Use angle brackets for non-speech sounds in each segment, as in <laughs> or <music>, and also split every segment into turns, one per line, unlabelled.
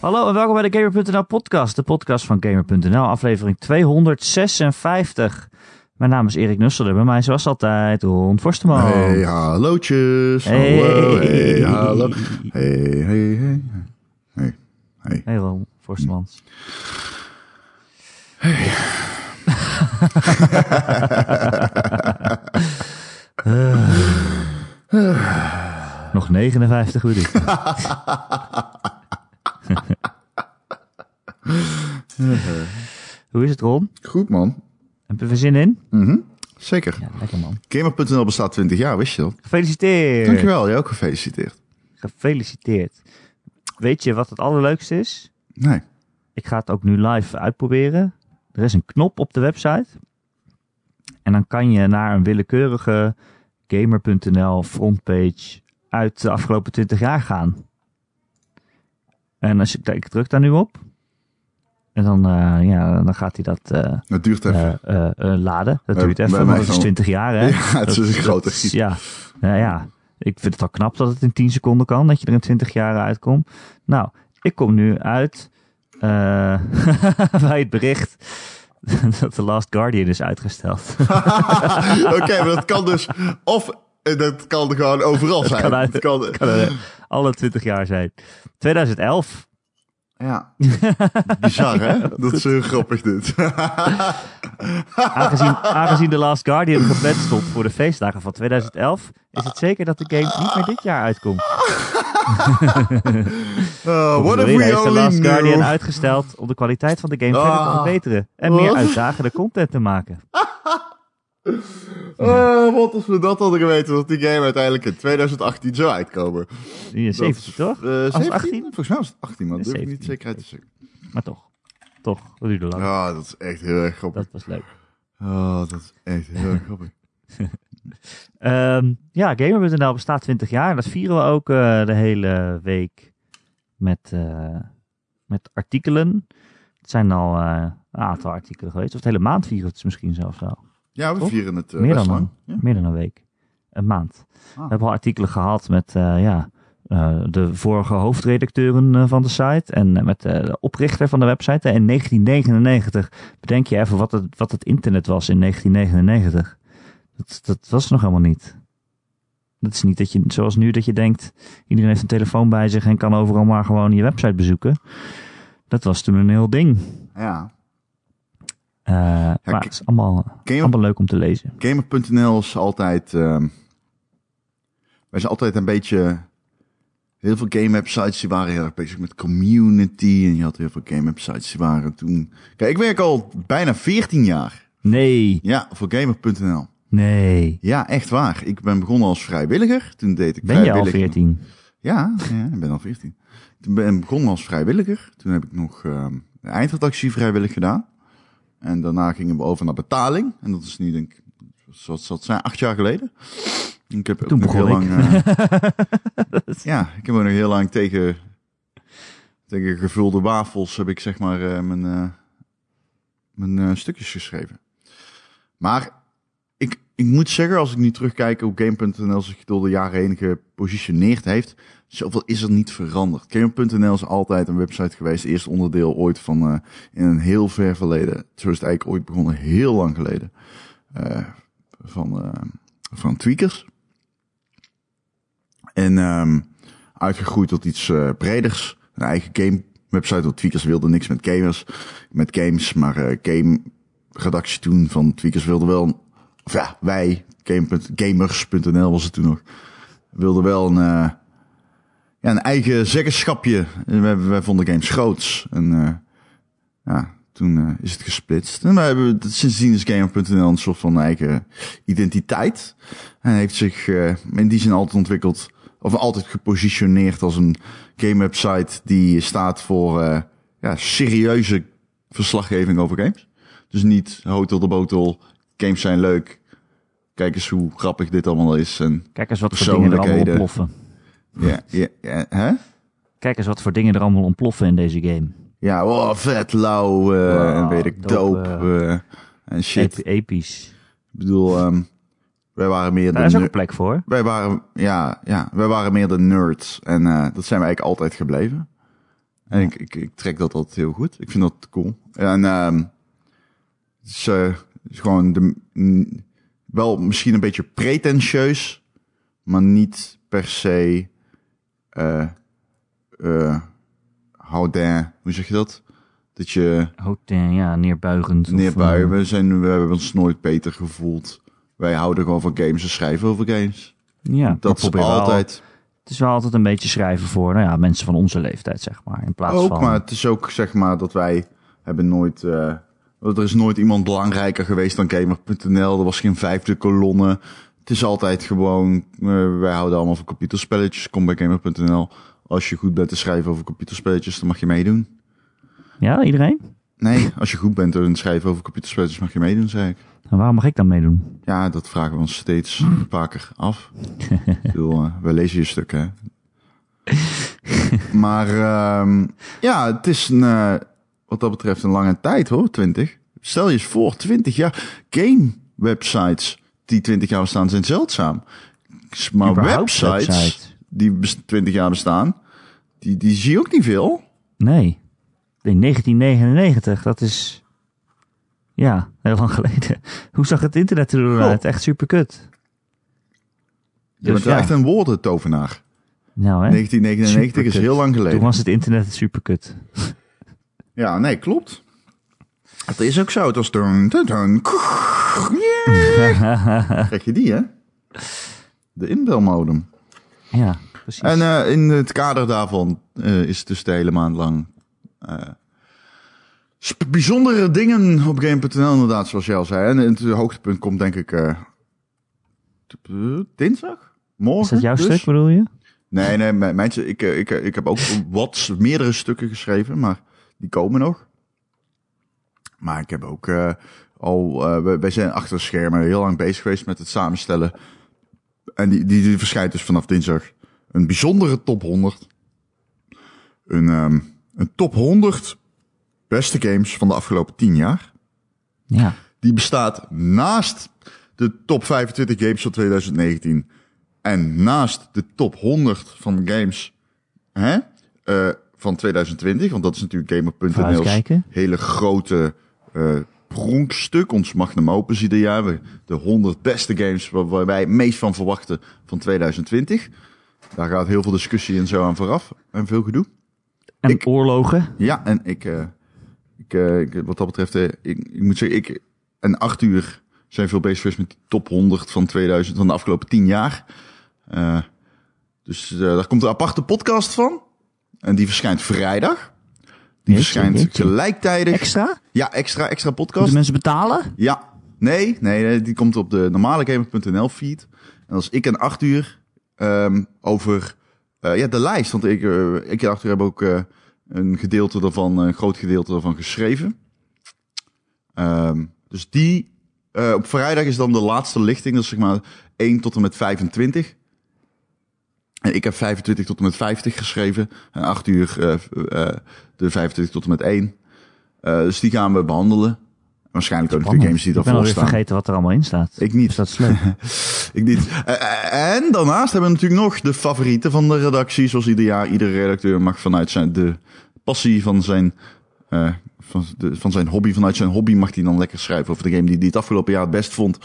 Hallo en welkom bij de Gamer.nl podcast, de podcast van Gamer.nl, aflevering 256. Mijn naam is Erik Nusselder, bij mij zoals altijd Ron Forsteman.
Hey, hallootjes.
Oh. Hey.
Hallo, hey, hallo. Hey, hey, hey. Hey, hey.
Hey Ron Forsteman. Eh. <laughs> nog 59 minuten. Hoe is het Ron?
Goed, man.
Heb je er zin in?
Mhm. Zeker.
Ja, lekker man.
Gamer.nl bestaat 20 jaar, wist je dat?
Gefeliciteerd.
Dankjewel, jij ook gefeliciteerd.
Gefeliciteerd. Weet je wat het allerleukste is?
Nee.
Ik ga het ook nu live uitproberen. Er is een knop op de website. En dan kan je naar een willekeurige gamer.nl frontpage uit de afgelopen 20 jaar gaan. En als ik, ik druk daar nu op. En dan, eh, ja, dan gaat hij dat eh,
Dat duurt even.
eh, eh, eh, laden. Dat
Bij-
duurt
bij
even,
mij
want het is
wel.
20 jaar hè.
<laughs> ja, het is een
Dat-
grote
dat is-
giet.
Ja, nou ja, ik vind het al knap dat het in 10 seconden kan, dat je er in 20 jaar uitkomt. Nou, ik kom nu uit eh, <laughs> bij het bericht dat The Last Guardian is uitgesteld. <laughs>
<laughs> Oké, maar dat kan dus... Of eh, dat kan gewoon overal zijn.
kan uit-
Het kan-
Kan, eh, Alle 20 jaar zijn. 2011.
ja. Bizar, hè? dat is heel grappig, dit. <laughs>
Aangezien, aangezien The Last Guardian gepland stond voor de feestdagen van 2011, is het zeker dat de game niet meer dit jaar uitkomt.
Uh, what
Marina
if we
heeft The
only
Last Guardian
knew...
uitgesteld om de kwaliteit van de game verder te
Ah.
verbeteren en meer
Wat?
uitdagende content te
<laughs>
maken.
Eh, wat als we dat hadden geweten, dat die game uiteindelijk in 2018 zou uitkomen.
Ja, 70 toch?
Eh,
Als
17?
18?
Volgens mij was het 18, maar dat durf ik
17.
niet zeker uit te zeggen.
Maar toch. Toch. Dat duurde lang.
Ja, dat is echt heel erg grappig.
Dat was leuk.
Oh, dat is echt heel erg grappig.
Ehm, ja, Gamer.nl bestaat 20 jaar. Dat vieren we ook eh, de hele week met, eh, met artikelen. Het zijn al eh, een aantal artikelen geweest. Of de hele maand vieren we het misschien zelfs wel.
Ja, we
Toch?
vieren het eh,
Meer
best
dan
lang.
een,
Ja.
meer dan een week. Een maand. We
Ah.
hebben al artikelen gehad met eh, ja, eh, de vorige hoofdredacteuren eh, van de site. En eh, met eh, de oprichter van de website. En in 1999 bedenk je even wat het, wat het internet was in 1999. Dat, dat was nog helemaal niet. Dat is niet dat je, zoals nu, dat je denkt, iedereen heeft een telefoon bij zich en kan overal maar gewoon je website bezoeken. Dat was toen een heel ding.
Ja.
Eh, maar
k-
het is allemaal,
Gamer-
allemaal leuk om te lezen.
Gamer.nl is altijd... ehm, wij zijn altijd een beetje... Heel veel game websites die waren heel erg bezig met community. En je had heel veel game websites die waren toen... Kijk, ik werk al bijna 14 jaar.
Nee,
Ja, voor Gamer.nl.
nee.
Ja, echt waar. Ik ben begonnen als vrijwilliger. Toen deed ik
Ben je al
vrijwillig...
14?
Ja, ja, ik ben al 14. Toen ben ik begonnen als vrijwilliger. Toen heb ik nog ehm, de eindredactie vrijwillig gedaan. En daarna gingen we over naar betaling. En dat is nu, denk ik, wat zal het zijn, acht jaar geleden. Ik heb ook
Toen
nog
begon
heel lang.
<laughs>
eh, ja, ik heb ook nog heel lang tegen, tegen gevulde wafels heb ik zeg maar eh, mijn, eh, mijn eh, stukjes geschreven. Maar ik, ik moet zeggen, als ik nu terugkijk op Game.nl zich door de jaren heen gepositioneerd heeft, zoveel is er niet veranderd. Game.nl is altijd een website geweest, eerst onderdeel ooit van eh, in een heel ver verleden. Zo is het eigenlijk ooit begonnen, heel lang geleden, eh, van, eh, van tweakers. En ehm, uitgegroeid tot iets eh, breders. Een eigen game website, want tweakers wilde niks met gamers, met games, maar eh, game redactie toen van tweakers wilde wel een of ja, wij, game- gamers.nl was het toen nog, wilden wel een, eh, ja, een eigen zeggenschapje. En Wij, wij vonden games groots. En eh, ja, toen eh, is het gesplitst. En wij hebben, sindsdien is gamer.nl een soort van eigen identiteit. En heeft zich eh, in die zin altijd ontwikkeld, of altijd gepositioneerd als een game website die staat voor eh, ja, serieuze verslaggeving over games. Dus niet hotel de botel, games zijn leuk. Kijk eens hoe grappig dit allemaal is. En
Kijk eens wat voor dingen er allemaal
Persoonlijkheden.
ontploffen.
ja, ja, ja, hè?
Kijk eens wat voor dingen er allemaal ontploffen in deze game.
Ja, oh, vet, lauw, eh,
Wow,
en weet ik,
dope,
dope, eh, en shit.
Ep- episch.
Ik bedoel, ehm, wij waren meer de
Daar is ook
ner-
een plek voor.
wij waren, ja, ja, wij waren meer de nerds. En eh, dat zijn we eigenlijk altijd gebleven. En ik, ik, ik trek dat altijd heel goed. Ik vind dat cool. En ehm het is, eh, het is gewoon de, mm, wel misschien een beetje pretentieus, maar niet per se eh eh houdin. Hoe zeg je dat? Dat je
Hotel, ja, neerbuigend. of,
neerbuien. We, zijn, we hebben ons nooit beter gevoeld. Wij houden gewoon van games en schrijven over games.
eh, ja, maar
Dat is
probeer wel-
altijd.
het is wel altijd een beetje schrijven voor nou ja, mensen van onze leeftijd, zeg maar. In plaats
Ook,
van,
maar het is ook zeg maar dat wij hebben nooit. eh, er is nooit iemand belangrijker geweest dan Gamer.nl. Er was geen vijfde kolonne. Het is altijd gewoon. eh, wij houden allemaal van computerspelletjes. Kom bij Gamer.nl. Als je goed bent te schrijven over computerspelletjes, dan mag je meedoen.
Ja, iedereen? <laughs>
Nee, als je goed bent te schrijven over computerspelletjes, mag je meedoen, zei ik.
En waarom mag ik dan meedoen?
Ja, dat vragen we
<laughs>
ons steeds vaker af. ik bedoel, eh, we lezen je stuk, hè? maar ehm, ja, het is een, eh, wat dat betreft een lange tijd hoor, 20. Stel je eens voor, 20 jaar. Game websites die 20 jaar bestaan zijn zeldzaam. Maar
Überhaupt
websites
website.
die bes- 20 jaar bestaan, die, die zie je ook niet veel.
Nee. In 1999, dat is... Ja, heel lang geleden. <laughs> Hoe zag het internet er toen
Goh.
uit? Echt super kut.
Je bent
Dus ja.
echt een woordentovenaar.
Nou hè,
1999 is
Superkut.
heel lang geleden.
toen was het internet super kut.
Ja, nee, klopt. Het is ook zo. Het was... Dun, dun, dun,
<laughs>
Krijg je die, hè? De inbelmodem.
Ja, precies.
En eh, in het kader daarvan eh, is het dus de hele maand lang... eh, sp- bijzondere dingen op Game.nl inderdaad, zoals jij al zei. En het hoogtepunt komt denk ik... eh, dinsdag? Morgen?
is dat jouw
dus?
stuk bedoel je?
Nee, nee, mijn, mijn- ik, eh, ik, eh, ik heb ook <laughs> wat meerdere stukken geschreven, maar die komen nog. Maar ik heb ook eh, al, eh, we- wij zijn achter de schermen heel lang bezig geweest met het samenstellen. En die, die, die verschijnt dus vanaf dinsdag een bijzondere top 100. Een, ehm, een top 100 beste games van de afgelopen 10 jaar.
Ja.
Die bestaat naast de top 25 games van 2019 en naast de top 100 van games hè, eh, van 2020. Want dat is natuurlijk Gamer.nl's
Vooruitkijken.
hele grote eh pronkstuk. Ons magnum opus ieder jaar. We- De 100 beste games waar, waar wij het meest van verwachten van 2020. Daar gaat heel veel discussie en zo aan vooraf. En veel gedoe.
En
Ik-
oorlogen?
Ja, en ik, eh, ik, eh, ik- wat dat betreft, eh, ik, ik moet zeggen, ik en Arthur zijn veel bezig geweest met die top 100 van 2000, van de afgelopen 10 jaar. Eh, dus eh, daar komt een aparte podcast van. En die verschijnt vrijdag. Die
Jeetje,
verschijnt
jeetje.
gelijktijdig.
Extra?
ja, extra, extra
Moeten
podcast.
mensen betalen?
Ja. Nee, nee, nee, die komt op de normale gamer.nl feed. En als ik en Arthur ehm over eh, ja, de lijst. Want ik, eh, ik en Arthur hebben ook eh, een gedeelte daarvan, een groot gedeelte daarvan geschreven. Ehm, dus die eh, op vrijdag is dan de laatste lichting. Dat is zeg maar 1 tot en met 25. En ik heb 25 tot en met 50 geschreven. En 8 uur eh, eh, de 25 tot en met 1. Eh, dus die gaan we behandelen. Waarschijnlijk ook natuurlijk games die
ik ben
daarvoor
alweer
staan.
vergeten wat er allemaal in staat.
Ik niet.
Dus dat is
<laughs>
leuk.
Ik niet. Eh, eh, En daarnaast hebben we natuurlijk nog de favorieten van de redactie. Zoals ieder jaar, iedere redacteur mag vanuit zijn, de passie van zijn, eh, van, de, van zijn hobby, vanuit zijn hobby mag hij dan lekker schrijven over de game die hij het afgelopen jaar het best vond.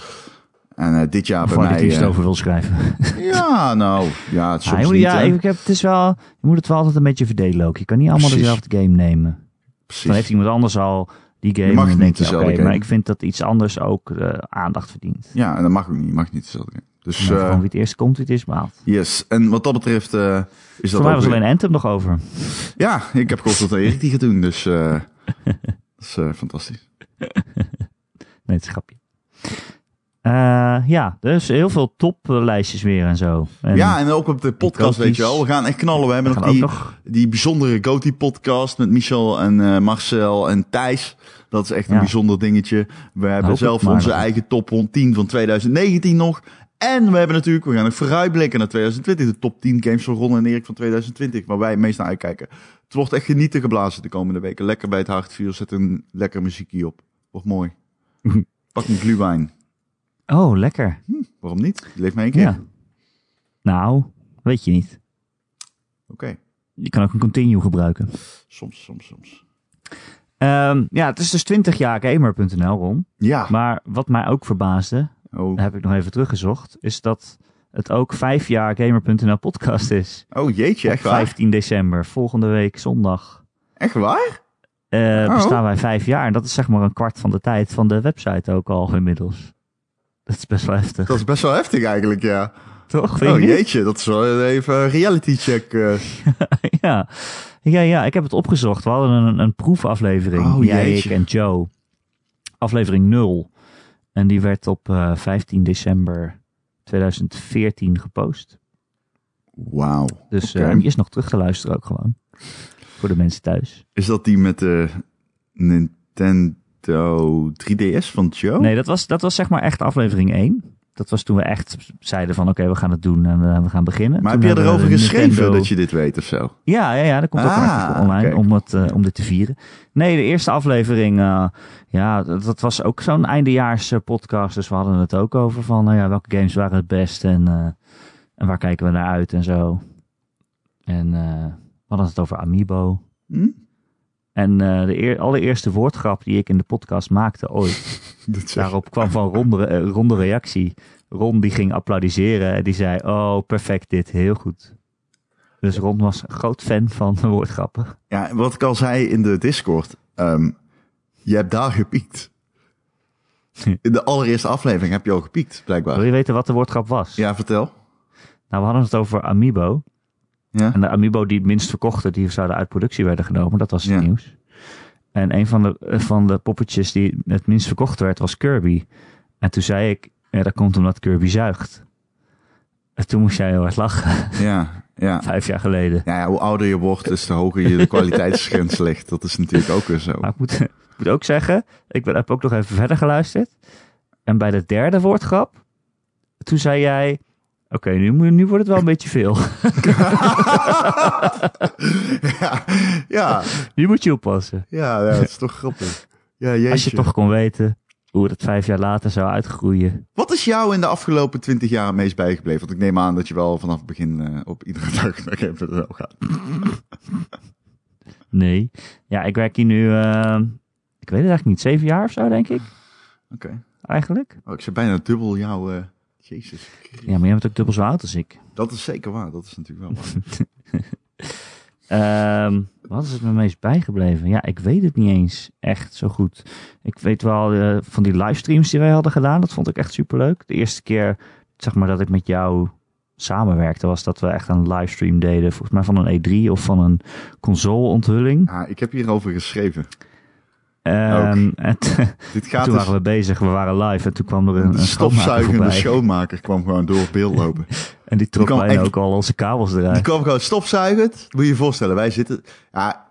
En eh, dit jaar
Of
bij
waar ik
mij...
het liefst
eh,
over wil schrijven.
ja, nou, ja, het
Ja, je
soms
Ah, moet,
niet,
ja,
hè.
ik heb, het is wel, je moet het wel altijd een beetje verdelen ook. Je kan niet allemaal
Precies.
dezelfde game nemen. Dan heeft
Precies.
iemand anders al die game.
Je mag
en dan
niet
denk je,
dezelfde
oké,
game.
Maar ik vind dat iets anders ook eh, aandacht verdient.
Ja, en dat mag ook niet, mag niet hetzelfde game. Dus,
Nee,
eh,
gewoon wie het eerst komt, wie het eerst maalt.
yes. En wat dat betreft eh, is dat
Voor mij
ook
was
weer-
alleen Anthem nog over.
Ja, ik heb gehoord dat Erik die gaat doen, dus eh,
<laughs>
dat is eh, fantastisch.
Nee, het is een grapje. Eh, ja, dus heel veel toplijstjes weer en zo. En
ja, en ook op de podcast, weet je wel. We gaan echt knallen. We
we
hebben
gaan
nog
ook
die,
nog...
die bijzondere GOTY-podcast met Michel en eh, Marcel en Thijs. Dat is echt een
Ja.
bijzonder dingetje. We hebben
hoop
zelf
het maar.
onze eigen top 10 van 2019 nog. En we hebben natuurlijk, we gaan nog vooruitblikken naar 2020. De top 10 games van Ron en Erik van 2020, waar wij het meest naar uitkijken. Het wordt echt genieten geblazen de komende weken. Lekker bij het haardvuur, zet een lekker muziekje op. Wordt
<laughs>
mooi. Pak een gluwijn.
Oh, lekker.
Waarom niet? Leef maar één keer.
Ja. Nou, weet je niet.
Oké.
Je kan ook een continue gebruiken.
Soms, soms, soms.
Ehm, ja, het is dus 20 jaar gamer.nl, Ron.
Ja.
Maar wat mij ook verbaasde,
Oh,
heb ik nog even teruggezocht, is dat het ook vijf jaar gamer.nl podcast is.
oh jeetje,
Op
echt waar?
15 december, volgende week zondag.
Echt waar?
eh,
Oh.
Bestaan wij vijf jaar. En dat is zeg maar een kwart van de tijd van de website ook al inmiddels. Dat is best wel heftig.
Dat is best wel heftig eigenlijk, ja.
Toch? Vind
Oh
je niet?
jeetje, dat is wel even een reality check. eh.
<laughs> ja. Ja, ja, ik heb het opgezocht. We hadden een, een proefaflevering.
Oh,
jij, ik
jeetje.
en Joe. Aflevering 0. En die werd op eh, 15 december 2014 gepost.
Wauw.
Dus
Oké.
eh, die is nog terug te luisteren ook gewoon. Voor de mensen thuis.
Is dat die met de Nintendo 3DS van Joe?
Nee, dat was, dat was zeg maar echt aflevering 1. Dat was toen we echt zeiden van oké, we gaan het doen en eh, we gaan beginnen.
maar
Toen
heb je
hebben we
erover
de
geschreven
Nintendo-
dat je dit weet of zo?
Ja, ja, ja, er komt ook een
Ah,
artikel online
kijk.
om, het, eh, om dit te vieren. Nee, de eerste aflevering, eh, ja, dat, dat was ook zo'n eindejaars eh, podcast. Dus we hadden het ook over van, nou ja, welke games waren het best en, eh, en waar kijken we naar uit en zo. En eh, we hadden het over Amiibo.
Hm?
En eh, de eer- allereerste woordgrap die ik in de podcast maakte ooit,
Dat <laughs> zeg-
daarop kwam van Ron de, eh, Ron de reactie. Ron die ging applaudisseren en die zei, oh, perfect dit, heel goed. Dus Ron was een groot fan van woordgrappen.
Ja, wat ik al zei in de Discord. ehm, je hebt daar
<laughs>
gepiekt. In de allereerste aflevering heb je al gepiekt,
Wil
blijkbaar.
je weten wat de woordgrap was?
Ja, vertel.
Nou, we hadden het over Amiibo.
Ja.
En de Amiibo die het minst verkochten, die zouden uit productie werden genomen. Dat was het
Ja.
nieuws. En een van de, eh, van de poppetjes die het minst verkocht werd, was Kirby. En toen zei ik, ja, dat komt omdat Kirby zuigt. En toen moest jij heel hard lachen, <laughs>
Ja, ja.
vijf jaar geleden.
Ja, ja, hoe ouder je wordt, is te hoger je de
<laughs>
kwaliteitsgrens ligt. Dat is natuurlijk ook weer zo.
Maar ik moet, ik moet ook zeggen, ik ben, heb ook nog even verder geluisterd. En bij de derde woordgrap, toen zei jij... Oké, nu, moet- nu wordt het wel een beetje veel.
<laughs>
<laughs>
ja, ja,
Nu moet je oppassen.
ja, ja, dat is toch grappig. Ja, jeetje.
Als je toch kon weten hoe dat vijf jaar later zou uitgroeien.
Wat is jou in de afgelopen twintig jaar het meest bijgebleven? Want ik neem aan dat je wel vanaf het begin eh, op iedere <laughs> dag naar Game.nl gaat.
Nee. Ja, ik werk hier nu, eh, ik weet het eigenlijk niet, zeven jaar of zo, denk ik.
Oké.
Eigenlijk.
Oh, ik zit bijna dubbel jouw... eh, Jezus.
Ja, maar jij bent ook dubbel zo oud als ik.
Dat is zeker waar. Dat is natuurlijk wel waar.
Ehm, wat is het me meest bijgebleven? Ja, ik weet het niet eens echt zo goed. Ik weet wel eh, van die livestreams die wij hadden gedaan. Dat vond ik echt superleuk. De eerste keer zeg maar, dat ik met jou samenwerkte was dat we echt een livestream deden. Volgens mij van een E3 of van een consoleonthulling.
Ah, ik heb hierover geschreven.
Ehm en <laughs>
Dit gaat
toen
dus...
waren we bezig, we waren live en toen kwam er een,
Een
een schoonmaker
stofzuigende
voorbij.
schoonmaker kwam gewoon door het beeld lopen.
En die trok
Die kwam
bijna
echt-
ook al onze kabels
Die
eruit.
kwam gewoon stofzuigend. Moet je je voorstellen, wij zitten... Ja,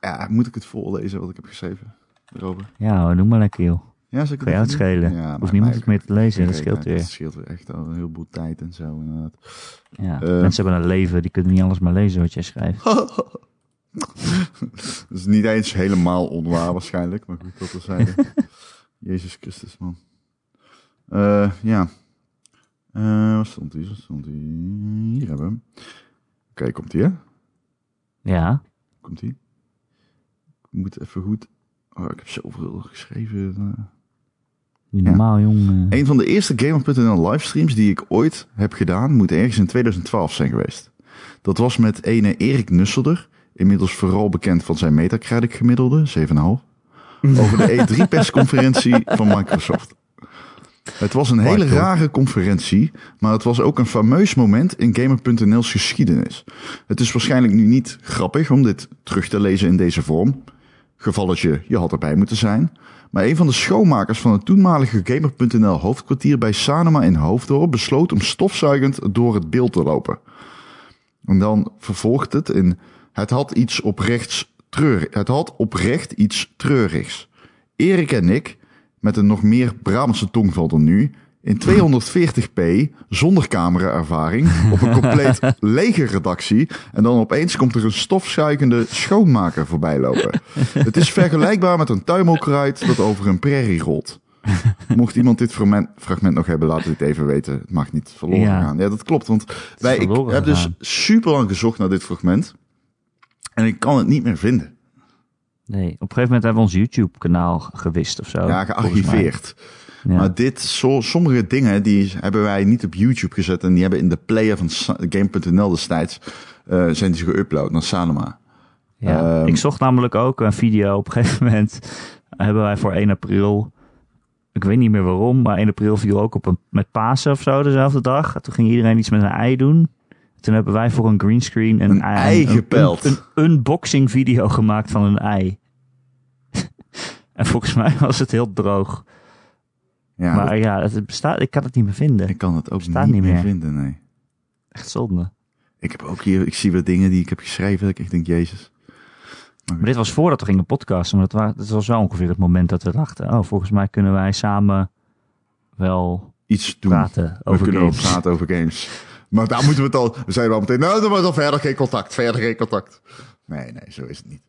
ja, moet ik het voorlezen wat ik heb geschreven? Robert?
Ja hoor, noem maar lekker joh.
Ja, zal ik
Kan je
even doen?
uitschelen.
Ja,
Hoeft
maar
niemand
mij
het meer te lezen, dat
Nee,
scheelt
nee, Dat
weer.
scheelt weer echt al een heleboel tijd en zo inderdaad. <laughs>
Ja.
Eh.
Mensen hebben een leven, die kunnen niet alles maar lezen wat jij schrijft.
Dat is niet eens helemaal onwaar waarschijnlijk, maar goed,
<laughs>
dat terzijde. Jezus Christus, man. Eh, ja. Eh, waar stond die? Waar stond die? Hier hebben we hem. Oké, komt ie, hè?
Ja,
Komt ie. Ik moet even goed... Oh, ik heb zoveel geschreven. eh.
niet normaal jong. eh.
Een van de eerste Gamer.nl livestreams die ik ooit heb gedaan, moet ergens in 2012 zijn geweest. Dat was met ene Erik Nusselder, inmiddels vooral bekend van zijn Metacritic gemiddelde, 7,5, over de E3-persconferentie van Microsoft. Het was een hele
Hard, hoor.
rare conferentie, maar het was ook een fameus moment in Gamer.nl's geschiedenis. Het is waarschijnlijk nu niet grappig om dit terug te lezen in deze vorm. Gevalletje, je had erbij moeten zijn. Maar een van de schoonmakers van het toenmalige Gamer.nl hoofdkwartier bij Sanoma in Hoofddorp besloot om stofzuigend door het beeld te lopen. En dan vervolgt het in, het had iets oprechts treur, het had oprecht iets treurigs. Erik en ik, met een nog meer Brabantse tongval dan nu, in 240p, zonder cameraervaring, op een compleet lege redactie. En dan opeens komt er een stofzuigende schoonmaker voorbij lopen. Het is vergelijkbaar met een tuimelkruid dat over een prairie rolt. Mocht iemand dit fragment- fragment nog hebben, laat het even weten. Het mag niet verloren
Ja.
gaan. Ja, dat klopt, want wij, ik
verloren
heb dus
gegaan.
super lang gezocht naar dit fragment. En ik kan het niet meer vinden.
Oh, Nee, op een gegeven moment hebben we ons YouTube-kanaal gewist of zo.
ja, gearchiveerd.
volgens mij. Ja.
Maar dit, zo, sommige dingen die hebben wij niet op YouTube gezet. En die hebben in de player van Sa- Game.nl destijds eh, zijn die geüpload naar Sanoma.
Ja.
Ehm.
ik zocht namelijk ook een video op een gegeven moment. Hebben wij voor 1 april. Ik weet niet meer waarom, maar 1 april viel ook op een, met Pasen of zo dezelfde dag. Toen ging iedereen iets met een ei doen. Toen hebben wij voor een greenscreen een,
Een ei gepeld.
Een, een unboxing video gemaakt van een ei. <laughs> en volgens mij was het heel droog.
Ja,
maar ja, het bestaat, ik kan het niet meer vinden.
ik kan het ook
bestaat
niet,
niet
meer
meer.
vinden, nee.
Echt zonde.
Ik heb ook hier, ik zie weer dingen die ik heb geschreven. Dat ik echt denk, Jezus.
Maar dit was voordat we gingen podcasten. Maar dat, wa- dat was wel ongeveer het moment dat we dachten... oh, volgens mij kunnen wij samen wel
Iets doen.
praten
Hmm. we
over
kunnen
games.
wel praten over games. Maar daar moeten we het al. We zijn wel meteen. Nou, dan was al verder geen contact. Verder geen contact. Nee, nee, zo is het niet.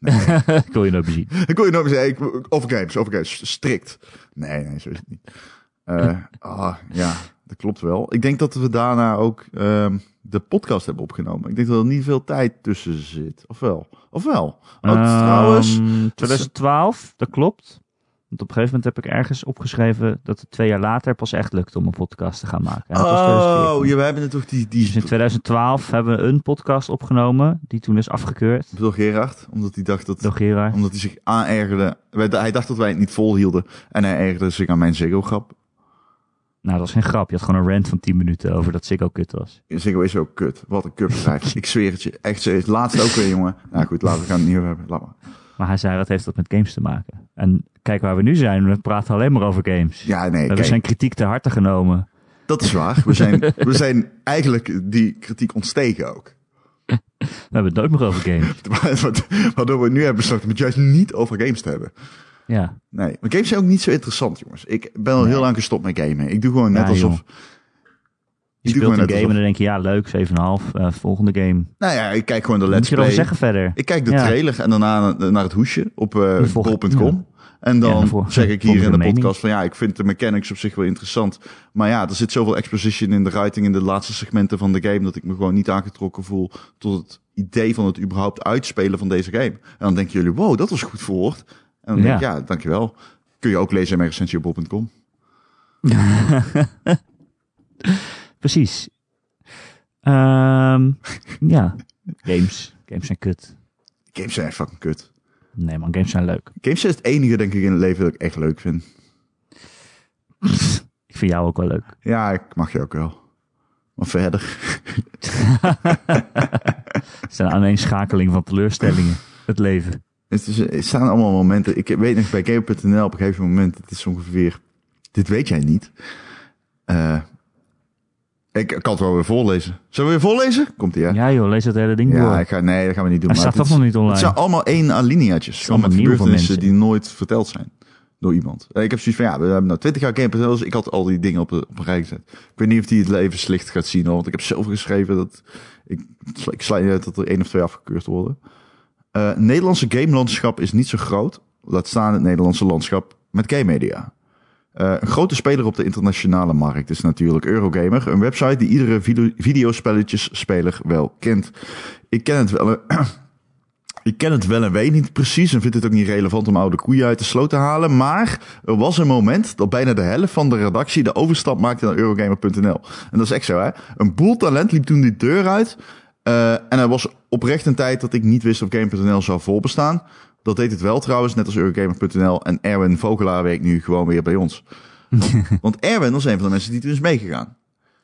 <laughs> ik wil je nou nooit meer zien.
<laughs> Ik wil je nooit meer zeggen. ik- Over games, over games. Strikt. Nee, nee, zo is het niet.
<laughs>
Eh, ah, ja, dat klopt wel. Ik denk dat we daarna ook ehm, de podcast hebben opgenomen. Ik denk dat er niet veel tijd tussen zit. Of wel? Of wel? Oh, trouwens.
Ehm, 2012, dat klopt. Want op een gegeven moment heb ik ergens opgeschreven... dat het twee jaar later pas echt lukte om een podcast te gaan maken. En dat was 2014.
Oh, ja, we hebben het toch die, die
Dus in 2012 hebben we een podcast opgenomen... die toen is afgekeurd
door Gerard, omdat hij dacht dat,
door Gerard.
omdat hij zich aanergerde. Wij- Hij dacht dat wij het niet volhielden en hij ergerde zich aan mijn Ziggo grap.
Nou, dat is geen grap. Je had gewoon een rant van 10 minuten over dat Ziggo kut was.
Ziggo is ook kut. Wat een
<laughs>
kutbedrijf. Ik zweer het je. Echt, het laatste ook weer, jongen. Nou goed, laten we gaan het niet over hebben. Laat maar.
Maar hij zei, wat heeft dat met games te maken? En kijk waar we nu zijn. We praten alleen maar over games.
Ja, nee,
we hebben
kijk,
zijn kritiek te harte genomen.
dat is waar. We
<laughs>
zijn, we zijn eigenlijk die kritiek ontstegen ook. <laughs>
We hebben het nooit meer over games.
Wat- Waardoor we nu hebben besloten om het juist niet over games te hebben.
Ja,
Nee, maar games zijn ook niet zo interessant, jongens. Ik ben al heel lang gestopt met gamen. Ik doe gewoon net
Ja,
alsof...
joh. je
Ik doe
speelt een
gewoon
game
net
en
alsof-
dan denk je, ja leuk, 7,5, eh, volgende game.
Nou ja, ik kijk gewoon de
Wat moet
Let's
je erover
Play.
zeggen verder?
Ik kijk de
Ja.
trailer en daarna naar het hoesje op eh
volg-
bol.com. En
Ja,
dan
dan volg-
zeg ik
volg
hier
je
in
de
de
mening.
podcast van ja, ik vind de mechanics op zich wel interessant. Maar ja, er zit zoveel exposition in de writing in de laatste segmenten van de game dat ik me gewoon niet aangetrokken voel tot het idee van het überhaupt uitspelen van deze game. En dan denken jullie, wow, dat was goed verwoord. En dan denk ik,
Ja.
ja, dankjewel. Kun je ook lezen in mijn recensie op bol.com.
Precies. Ehm, <laughs> ja, games. Games zijn kut.
Games zijn echt fucking kut.
Nee man, games zijn leuk. <laughs>
Games zijn het enige, denk ik, in het leven dat ik echt leuk vind.
Ik vind jou ook wel leuk.
Ja, ik mag je ook wel. Maar verder.
Het is een aaneenschakeling van teleurstellingen. Het leven.
Het, is, het staan allemaal momenten. Ik weet nog bij Game.nl op een gegeven moment. Het is ongeveer. Dit weet jij niet. Eh, ik kan het wel weer voorlezen. Zullen we weer voorlezen? Komt ie, hè?
Ja joh, lees dat hele ding door.
Ja, ik ga, nee, dat gaan we niet doen.
Hij
maar
staat toch
het
nog
is-
niet online?
Het zijn allemaal één alineaatjes. Gewoon met
allemaal nieuw voor
gebeurtenissen die
mensen.
nooit verteld zijn door iemand. Eh, Ik heb zoiets van, ja, we hebben nou 20 jaar Game.nl, dus ik had al die dingen op, de- op een rij gezet. Ik weet niet of die het leven slecht gaat zien, hoor, want ik heb zoveel geschreven dat... Ik, ik sluit niet uit dat er één of twee afgekeurd worden. Eh, Het Nederlandse gamelandschap is niet zo groot. Laat staan het Nederlandse landschap met game media. Eh, een grote speler op de internationale markt is natuurlijk Eurogamer. Een website die iedere video videospelletjesspeler wel kent. Ik ken het wel... Ik ken het wel en weet niet precies en vind het ook niet relevant om oude koeien uit de sloot te halen. Maar er was een moment dat bijna de helft van de redactie de overstap maakte naar Eurogamer.nl. En dat is echt zo, hè? Een boel talent liep toen die deur uit. Eh, en er was oprecht een tijd dat ik niet wist of Game.nl zou volbestaan. Dat deed het wel trouwens, net als Eurogamer.nl. En Erwin Vogelaar werkt nu gewoon weer bij ons. Want, want Erwin was een van de mensen die toen is meegegaan.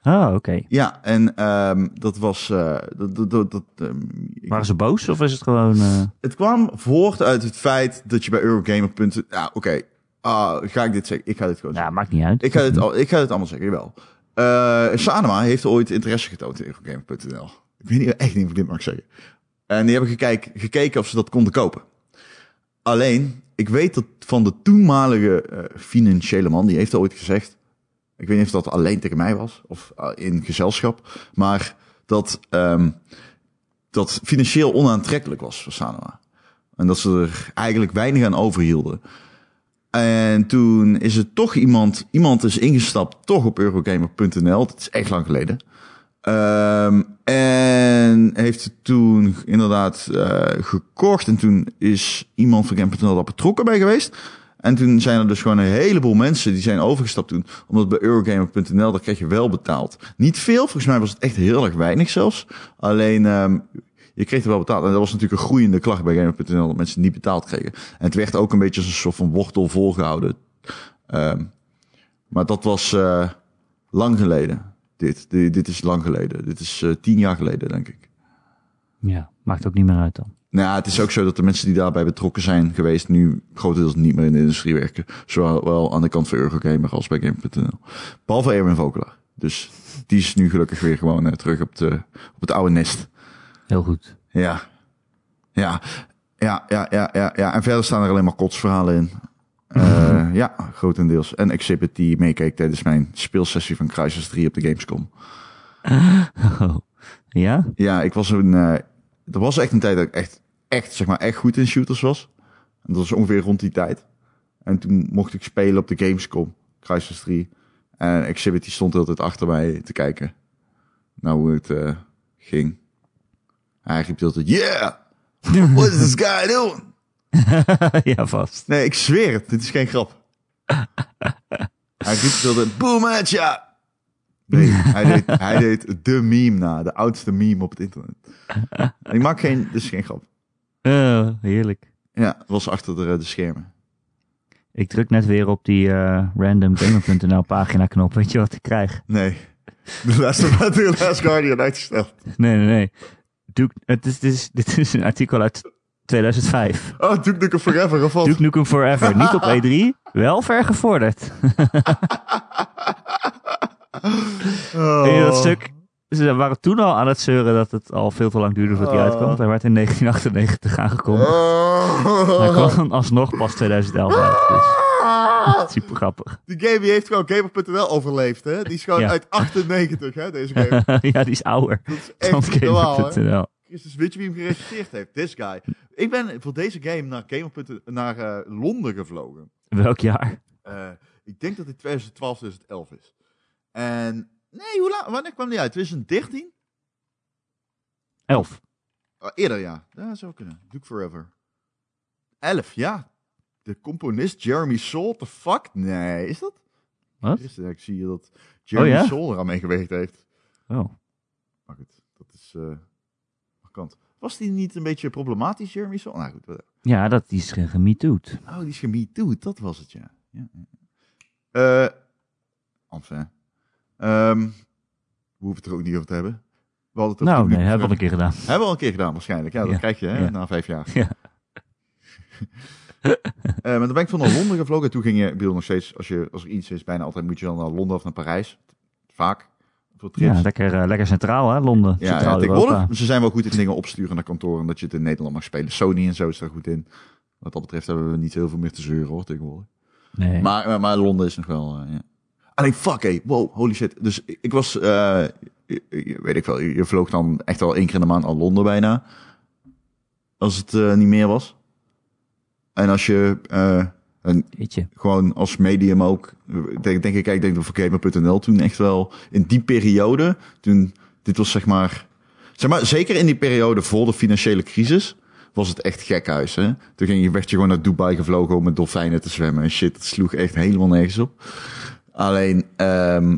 Oh, oké.
Ja, en ehm, dat was. eh, dat, dat, dat, dat, ehm, ik-
Waren ze boos of is het gewoon... eh,
het kwam voort uit het feit dat je bij Eurogamer. Ja, oké. Ah, ga ik dit zeggen? Ik ga dit gewoon
Ja, maakt niet uit.
zeggen. Ik ga dit, al, ik ga dit allemaal zeggen, jawel. Eh Sanema heeft ooit interesse getoond in Eurogamer.nl. Ik weet niet, echt niet of ik dit mag zeggen. En die hebben gekijk, gekeken of ze dat konden kopen. Alleen, ik weet dat van de toenmalige eh, financiële man, die heeft ooit gezegd. Ik weet niet of dat alleen tegen mij was of eh, in gezelschap. Maar dat, ehm, dat financieel onaantrekkelijk was voor Sanoma. En dat ze er eigenlijk weinig aan overhielden. En toen is er toch iemand, iemand is ingestapt, toch op Eurogamer.nl. Dat is echt lang geleden. Ehm, en heeft het toen inderdaad eh, gekocht. En toen is iemand van Game.nl daar betrokken bij geweest. En toen zijn er dus gewoon een heleboel mensen die zijn overgestapt toen. Omdat bij Eurogamer.nl, daar kreeg je wel betaald. Niet veel, volgens mij was het echt heel erg weinig zelfs. Alleen, ehm, je kreeg er wel betaald. En dat was natuurlijk een groeiende klacht bij Gamer.nl, dat mensen niet betaald kregen. En het werd ook een beetje als een soort van wortel volgehouden. Ehm, maar dat was eh, lang geleden. Dit, dit, dit is lang geleden. Dit is eh, tien jaar geleden, denk ik.
Ja, maakt ook niet meer uit dan.
Nou ja, het is ook zo dat de mensen die daarbij betrokken zijn geweest... nu grotendeels niet meer in de industrie werken. Zowel aan de kant van Eurogamer als bij Game.nl. Behalve Erwin Vokelaar. Dus die is nu gelukkig weer gewoon eh, terug op, de, op het oude nest.
Heel goed. <laughs>
Ja. Ja. Ja, ja, ja, ja, ja. En verder staan er alleen maar kotsverhalen in. Eh, ja, grotendeels. En Exhibit die meekeek tijdens mijn speelsessie van Crisis 3 op de Gamescom.
Oh. ja? <laughs>
Ja, ik was een. eh er was echt een tijd dat ik echt, echt, zeg maar, echt goed in shooters was. En dat was ongeveer rond die tijd. En toen mocht ik spelen op de Gamescom, Crisis 3. En Exhibit die stond altijd achter mij te kijken. Nou, hoe het eh, ging. Hij riep altijd, yeah! What is this guy doing?
ja, vast.
Nee, ik zweer het. Dit is geen grap. hij riep wilde boom at ya. Nee, hij deed,
<laughs>
hij deed de meme na. De oudste meme op het internet. En ik maak geen... Dit is geen grap.
Eh, heerlijk.
Ja, het was achter de, de schermen.
Ik druk net weer op die eh randomgamer.nl pagina knop. Weet je wat ik krijg?
Nee. De laatste maand de Last Guardian uitgesteld.
Nee, nee, nee. Duke, het is, dit, is, dit is een artikel uit 2005.
Oh, Duke Nukem Forever gevat.
Duke Nukem Forever. Niet op E3, wel vergevorderd.
Oh.
Weet je dat
<laughs>
stuk? Ze waren toen al aan het zeuren dat het al veel te lang duurde voordat hij
Oh.
uitkwam. want Hij werd in 1998 aangekondigd. Hij
Oh.
kwam dan alsnog pas 2011 uit. Dus super grappig.
Die game die heeft gewoon Gamer.nl overleefd, hè? Die is gewoon
Ja.
uit 98, hè,
<laughs>
deze game.
ja, die is ouder
Dat is
dan
echt niet normaal, hè?
Gamer.nl.
Christus, dus, weet je wie hem geregisseerd heeft? This guy. Ik ben voor deze game naar, Gamer. naar eh, Londen gevlogen.
Welk jaar?
Eh, ik denk dat dit 2012, 2011 is. En nee, hoe laat, wanneer kwam die uit? 2013?
11.
Oh, eerder, ja. Dat zou kunnen. Duke Forever. 11, ja. De componist Jeremy Soule, the fuck? Nee, is dat?
Wat?
Christus, ik zie hier dat Jeremy
ja?
Soule eraan meegewerkt heeft.
Oh.
Maar goed, dat is eh markant. Was die niet een beetje problematisch, Jeremy Soule? Nou goed, whatever.
Ja, dat die is ge- gemetoed.
Oh, die is gemetoed, dat was het, ja. ja. ja. Eh, enfin. Ehm, we hoeven het er ook niet over te hebben. We hadden het over
Nou,
Duke
nee, hebben we al
Nukem
een keer gedaan.
Forever. Hebben we al een keer gedaan, waarschijnlijk. Ja, dat
Ja,
krijg je, hè,
ja.
na vijf jaar.
Ja.
<laughs> Eh, maar dan ben ik van naar Londen gevlogen. Toen ging je, ik bedoel, nog steeds, als, je, als er iets is, bijna altijd moet je dan naar Londen of naar Parijs. Vaak. Voor trips.
Ja, lekker, eh, lekker centraal, hè? Londen,
Ja, ja,
centraal Europa.
tegenwoordig. Ze zijn wel goed in dingen opsturen naar kantoren. Dat je het in Nederland mag spelen. Sony en zo is daar goed in. Wat dat betreft hebben we niet heel veel meer te zeuren hoor, tegenwoordig.
Nee.
Maar, eh, maar, maar Londen is nog wel. eh, ja. Alleen fuck, hey, wow, holy shit. Dus ik, ik was, eh, je- je- weet ik wel, je je vloog dan echt al één keer in de maand naar Londen bijna. Als het eh, niet meer was. En als je eh, een,
Jeetje.
gewoon als medium ook, eh, denk, denk ik, ik denk dat voor Gamer.nl toen echt wel in die periode, toen dit was zeg maar, zeg maar, zeker in die periode voor de financiële crisis. Was het echt gekhuis, hè? Toen ging je, werd je gewoon naar Dubai gevlogen om met dolfijnen te zwemmen en shit. Dat sloeg echt helemaal nergens op. Alleen, ehm,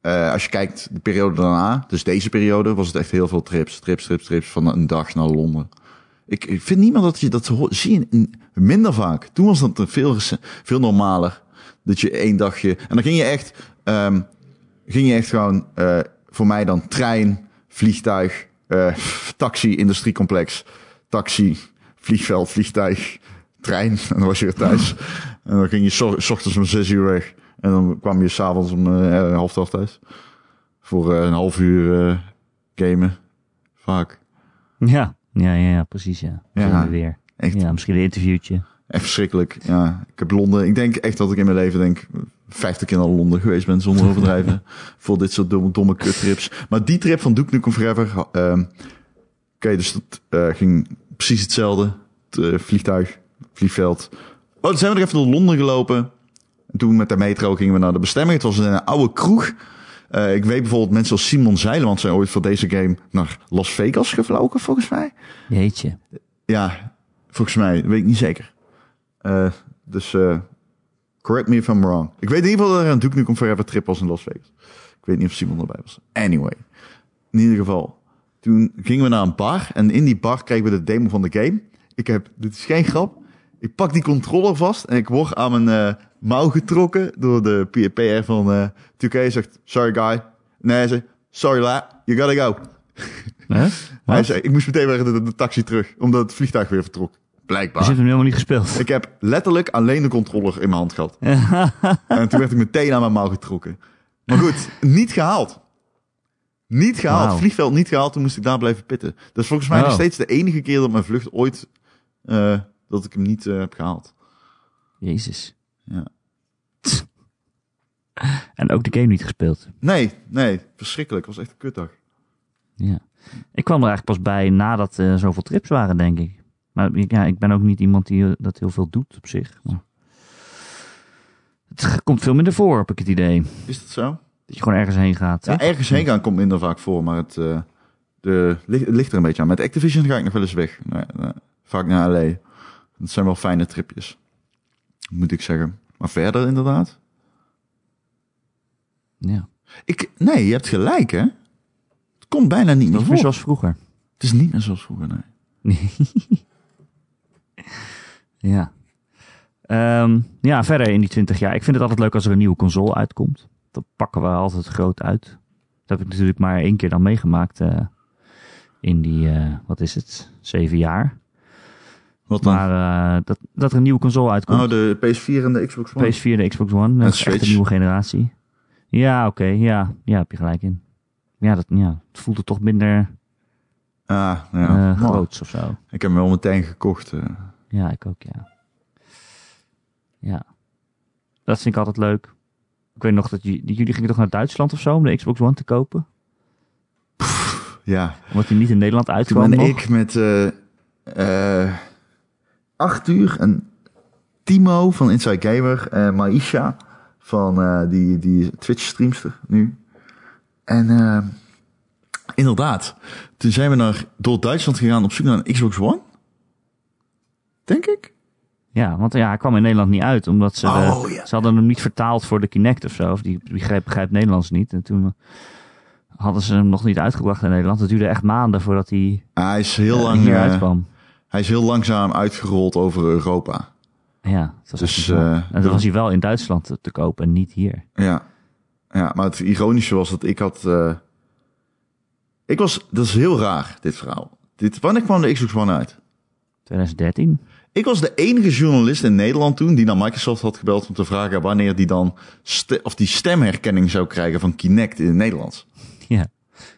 eh, als je kijkt de periode daarna, dus deze periode, was het echt heel veel trips. Trips, trips, trips van een dag naar Londen. Ik, ik vind niet meer dat je dat ho- zie je n- minder vaak. Toen was dat veel, rece- veel normaler. Dat je één dagje. En dan ging je echt, ehm, ging je echt gewoon eh, voor mij dan trein, vliegtuig, eh, taxi, industriecomplex, taxi, vliegveld, vliegtuig, trein. <laughs> En dan was je weer thuis. en dan ging je zo- s ochtends om zes uur weg. En dan kwam je s'avonds om eh, half twaalf thuis. Voor eh, een half uur eh, gamen. Vaak.
Ja. Ja, ja, ja, precies, ja.
Ja.
Zullen we weer.
Echt
Ja, misschien een interviewtje.
Echt verschrikkelijk. Ja, ik heb Londen. Ik denk echt dat ik in mijn leven denk 50 keer naar Londen geweest ben zonder overdrijven. voor dit soort domme, domme kuttrips. Maar die trip van Duke Nukem Forever. ha- ehm, Oké, dus dat eh, ging precies hetzelfde. Het, eh, vliegtuig, vliegveld. Oh, toen zijn we nog even door Londen gelopen. En toen met de metro gingen we naar de bestemming. Het was een eh, oude kroeg. Eh, ik weet bijvoorbeeld mensen als Simon Zeilemans zijn ooit voor deze game naar Las Vegas gevlogen, volgens mij.
Jeetje.
Ja, volgens mij. Dat weet ik niet zeker. Eh, dus eh, correct me if I'm wrong. Ik weet in ieder geval dat er een Duke Nukem Forever trip was in Las Vegas. Ik weet niet of Simon erbij was. Anyway. In ieder geval. Toen gingen we naar een bar. En in die bar kregen we de demo van de game. Ik heb, dit is geen grap. Ik pak die controller vast. En ik word aan mijn eh, mouw getrokken. Door de PR van eh 2K. Zegt, sorry guy. Nee, hij zegt, sorry la. You gotta go.
Hè?
Hij
Wat?
zei, ik moest meteen weer de, de taxi terug, omdat het vliegtuig weer vertrok.
Dus
Blijkbaar.
je hebt hem helemaal niet gespeeld.
Ik heb letterlijk alleen de controller in mijn hand gehad. en toen werd ik meteen aan mijn mouw getrokken. Maar goed, niet gehaald. Niet gehaald.
Wauw.
Vliegveld niet gehaald. Toen moest ik daar blijven pitten. Dat is volgens mij nog
Oh.
steeds de enige keer dat mijn vlucht ooit... eh, dat ik hem niet eh, heb gehaald.
<laughs> Jezus.
Ja.
<laughs> En ook de game niet gespeeld.
Nee, nee. Verschrikkelijk. Het was echt een kutdag.
Ja. Ik kwam er eigenlijk pas bij nadat er zoveel trips waren, denk ik. Maar ik- ja, ik ben ook niet iemand die eh, dat heel veel doet op zich. Maar het g- komt veel minder voor, heb ik het idee.
Is dat zo?
Dat je gewoon ergens heen gaat.
Ja,
hè?
ergens heen gaan komt minder vaak voor, maar het, eh, de, ligt, het ligt er een beetje aan. Met Activision ga ik nog wel eens weg. Nou ja, nou, vaak naar LA. Dat zijn wel fijne tripjes. Moet ik zeggen. Maar verder inderdaad.
ja.
Ik, nee, je hebt gelijk hè. Het komt bijna niet meer
Niet
voor.
meer zoals vroeger.
Het is niet meer zoals vroeger, nee.
<laughs> ja. Ehm, ja, verder in die 20 jaar. Ik vind het altijd leuk als er een nieuwe console uitkomt. Dat pakken we altijd groot uit. Dat heb ik natuurlijk maar één keer dan meegemaakt. eh, in die, eh, wat is het, zeven jaar.
Wat dan?
Maar eh, dat, dat er een nieuwe console uitkomt.
oh, de PS4 en de Xbox One.
PS4 en de Xbox One. Dat is echt
Switch.
een nieuwe generatie. Ja, oké. ja, ja, heb je gelijk in. Ja, dat, ja, het voelde toch minder
Ah, ja.
eh
Nou,
groots of zo.
Ik heb hem wel meteen gekocht. eh.
Ja, ik ook, ja. Ja. Dat vind ik altijd leuk. Ik weet nog dat j- jullie gingen toch naar Duitsland of zo om de Xbox One te kopen?
Ja,
Omdat die niet in Nederland
Toen
uitkwam
ben
nog.
ik met eh, eh, Arthur en Timo van Inside Gamer en Maisha van eh, die, die Twitch streamster nu. En eh, inderdaad, toen zijn we naar, door Duitsland gegaan op zoek naar een Xbox One. Denk ik.
Ja, want ja, hij kwam in Nederland niet uit. Omdat ze, de-
Oh, ja.
ze hadden hem niet vertaald voor de Kinect of zo. Of die begrijpt, begrijpt Nederlands niet. En toen eh, hadden ze hem nog niet uitgebracht in Nederland. Het duurde echt maanden voordat hij
Hij is heel,
eh,
lang,
hier
eh,
uitkwam.
hij is heel langzaam uitgerold over Europa.
Ja, het was
Dus,
echt niet normaal.
eh,
en
dat-
toen was hij wel in Duitsland te, te koop en niet hier.
Ja. ja, maar het ironische was dat ik had. eh, ik was. Dat is heel raar, dit verhaal. Dit, wanneer kwam de Xbox One uit?
2013?
Ik was de enige journalist in Nederland toen die naar Microsoft had gebeld om te vragen wanneer die dan. ste- of die stemherkenning zou krijgen van Kinect in het Nederlands.
<laughs> Ja.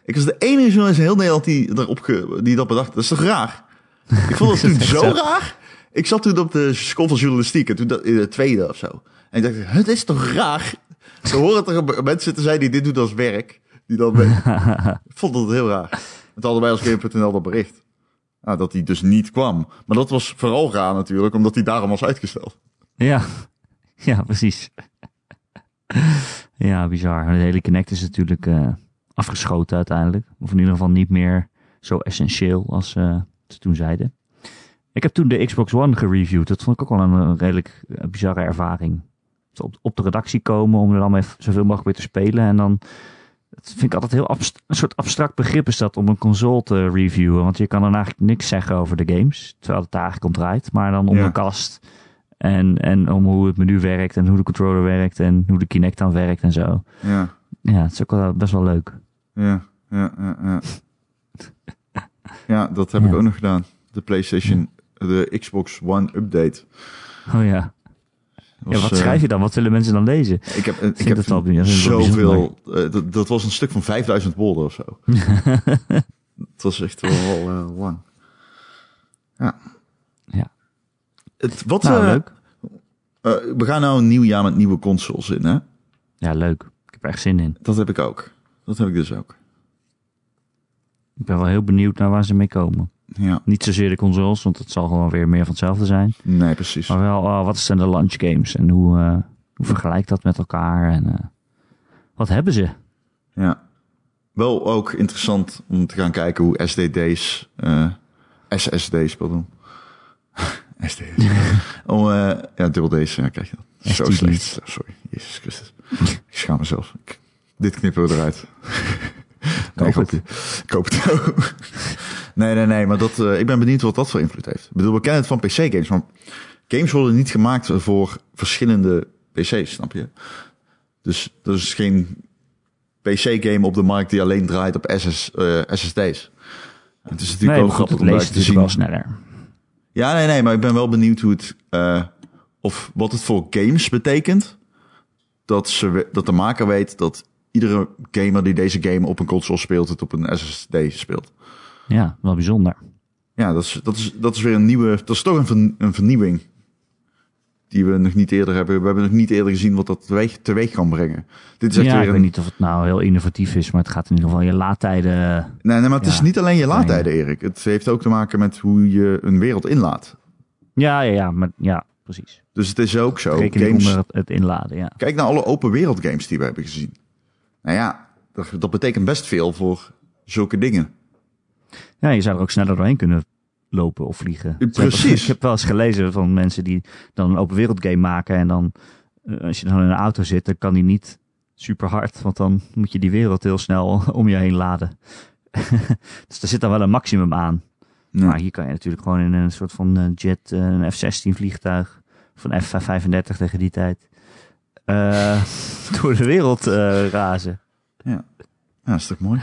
Ik was de enige journalist in heel Nederland die, daarop ge- die dat bedacht. Dat is toch raar? Ik vond dat toen
echt
zo
zo?
raar. Ik zat toen op de school van journalistiek, en toen dat, in de tweede of zo. En ik dacht, het is toch raar? Ze horen toch mensen te zijn die dit doen als werk. Die dan ik vond dat heel raar. Het hadden wij als Game.nl dat bericht. Nou, dat hij dus niet kwam. Maar dat was vooral raar natuurlijk, omdat hij daarom was uitgesteld.
Ja, <laughs> ja precies. <laughs> ja, bizar. De hele Kinect is natuurlijk eh, afgeschoten uiteindelijk. Of in ieder geval niet meer zo essentieel als eh, ze toen zeiden. Ik heb toen de Xbox One gereviewd. Dat vond ik ook wel een, eh, redelijk eh, bizarre ervaring. Zo Op, op de redactie komen om er dan mee zoveel mogelijk weer te spelen. En dan dat vind ik altijd heel abst- een soort abstract begrip is dat om een console te reviewen. Want je kan dan eigenlijk niks zeggen over de games. Terwijl het daar eigenlijk om draait. Maar dan om
Ja.
de kast en, en om hoe het menu werkt en hoe de controller werkt en hoe de Kinect dan werkt en zo.
Ja,
Ja, het is ook wel best wel leuk.
ja, ja, ja. Ja, ja dat heb
Ja.
ik ook nog gedaan. De PlayStation, de Xbox One update.
Oh ja.
Was,
ja wat
eh,
schrijf je dan? Wat willen mensen dan lezen?
Ik heb, ik
vind
heb
het wel
toen
bijzonder.
zoveel. eh, dat, dat was een stuk van 5000 woorden of zo.
<laughs>
Het was echt wel eh, lang. Ja.
Ja.
Het, wat
Nou,
eh,
leuk.
eh, we gaan nou een nieuw jaar met nieuwe consoles in, hè?
Ja, leuk. Ik heb er echt zin in.
Dat heb ik ook. Dat heb ik dus ook.
Ik ben wel heel benieuwd naar waar ze mee komen.
Ja.
Niet zozeer de consoles, want het zal gewoon weer meer van hetzelfde zijn.
Nee, precies.
Maar wel, oh, wat zijn de launch games en hoe, eh, hoe vergelijkt dat met elkaar en eh, wat eh, hebben ze?
Ja. Wel ook interessant om te gaan kijken hoe SDD's, eh, SSD's, pardon. <laughs> SD's. om, eh, ja, dubbel D's, ja, krijg je dat. Zo
SDD's.
slecht. Sorry, Jezus Christus. Ik schaam mezelf. Ik- dit knippen we <laughs> eruit. Nee,
Koop het.
grapje. Ik hoop het ook. <laughs> nee, nee, nee, maar dat, eh, ik ben benieuwd wat dat voor invloed heeft. Ik bedoel, we kennen het van PC-games, maar games worden niet gemaakt voor verschillende PC's, snap je? Dus er is geen PC-game op de markt die alleen draait op SS, eh, SSD's. Het is natuurlijk
Nee,
wel
maar goed,
goed
het
om
leest
buiten te
natuurlijk wel
zien.
sneller.
Ja, nee, nee, maar ik ben wel benieuwd hoe het, eh, of wat het voor games betekent. Dat, ze, we- dat de maker weet dat iedere gamer die deze game op een console speelt, het op een SSD speelt.
Ja, wel bijzonder.
Ja, dat is, dat is, dat is weer een nieuwe. Dat is toch een, vern- een vernieuwing. Die we nog niet eerder hebben. We hebben nog niet eerder gezien wat dat teweeg, teweeg kan brengen. Dit is echt
Ja, ik
weer
weet
een.
niet of het nou heel innovatief is, maar het gaat in ieder geval je laadtijden... eh,
Nee, nee, maar het
Ja,
is niet alleen je
fijn.
laadtijden, Erik. Het heeft ook te maken met hoe je een wereld inlaat.
Ja, ja, ja, maar, ja precies.
Dus het is ook zo.
Rekening
Games,
onder het, het inladen, ja.
Kijk naar alle open wereld games die we hebben gezien. Nou ja, dat, dat betekent best veel voor zulke dingen.
Ja, je zou er ook sneller doorheen kunnen lopen of vliegen. <laughs>
Precies.
Ik heb wel eens gelezen van mensen die dan een open wereld game maken en dan eh, als je dan in een auto zit, dan kan die niet super hard, want dan moet je die wereld heel snel <laughs> om je heen laden. dus daar zit dan wel een maximum aan.
Ja.
Maar hier kan je natuurlijk gewoon in een soort van eh, jet, eh, een F-16 vliegtuig van F-35 tegen die tijd eh, <laughs> door de wereld eh, razen.
Ja, dat is toch mooi?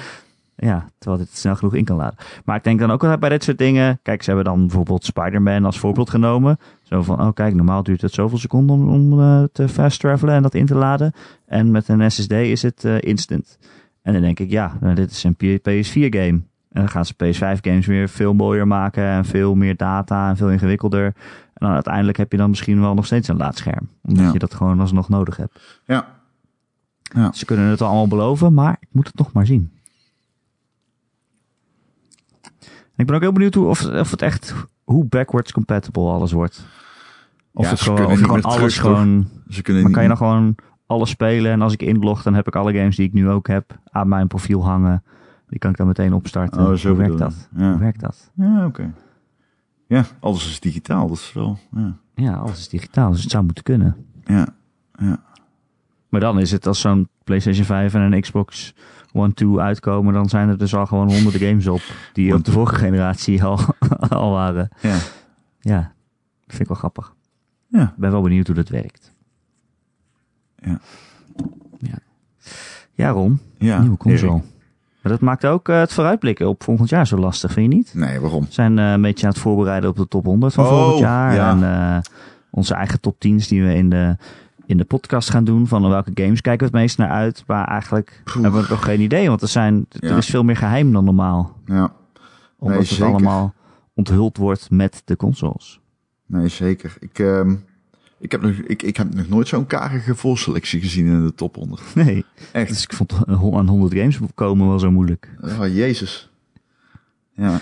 Ja, terwijl dit het snel genoeg in kan laden. Maar ik denk dan ook altijd bij dit soort dingen. Kijk, ze hebben dan bijvoorbeeld Spider-Man als voorbeeld genomen. Zo van, oh kijk, normaal duurt het zoveel seconden om, om eh, te fast travelen en dat in te laden. En met een SSD is het eh, instant. En dan denk ik, ja, nou, dit is een PS4 game. En dan gaan ze PS5 games weer veel mooier maken en veel meer data en veel ingewikkelder. En dan uiteindelijk heb je dan misschien wel nog steeds een laadscherm. Omdat
Ja.
je dat gewoon alsnog nodig hebt.
Ja,
Ze kunnen het wel allemaal beloven, maar ik moet het nog maar zien. En ik ben ook heel benieuwd hoe, of, of het echt hoe backwards compatible alles wordt. Of
Ja,
het
ze
gewoon,
kunnen
of je gewoon
niet meer
alles
terug, toch?
gewoon.
ze kunnen
Maar kan je
niet-
dan gewoon alles spelen? En als ik inlog, dan heb ik alle games die ik nu ook heb aan mijn profiel hangen. Die kan ik dan meteen opstarten.
Oh, zo
hoe werkt
bedoel je.
dat?
Ja.
Hoe werkt dat?
Ja, oké. Ja, alles is digitaal, dat is wel. Ja,
Ja, alles is digitaal, dus het zou moeten kunnen.
ja, ja.
Maar dan is het als zo'n PlayStation 5 en een Xbox One 2 uitkomen, dan zijn er dus al gewoon
<laughs>
honderden games op die
One
op de vorige generatie al, <laughs> al waren.
ja.
Ja, dat vind ik wel grappig.
Ja.
Ik ben wel benieuwd hoe dat werkt.
Ja.
Ja, ja Ron,
ja.
nieuwe console.
Erik.
Maar dat maakt ook eh, het vooruitblikken op volgend jaar zo lastig, vind je niet?
Nee, waarom?
We zijn eh, een beetje aan het voorbereiden op de top 100 van
Oh,
volgend jaar.
ja.
En eh, onze eigen top 10's die we in de, in de podcast gaan doen. Van welke games kijken we het meest naar uit. Maar eigenlijk
Poeh.
hebben we nog geen idee. Want er, zijn,
Ja.
er is veel meer geheim dan normaal.
Ja,
Omdat
Nee,
het
zeker.
allemaal onthuld wordt met de consoles. <laughs>
nee, zeker. Ik, ehm, ik, heb nog, ik, ik heb nog nooit zo'n karige voorselectie gezien in de top 100.
Nee.
Echt.
Dus ik vond eh, aan 100 games komen wel zo moeilijk. <laughs>
Oh, jezus. Ja.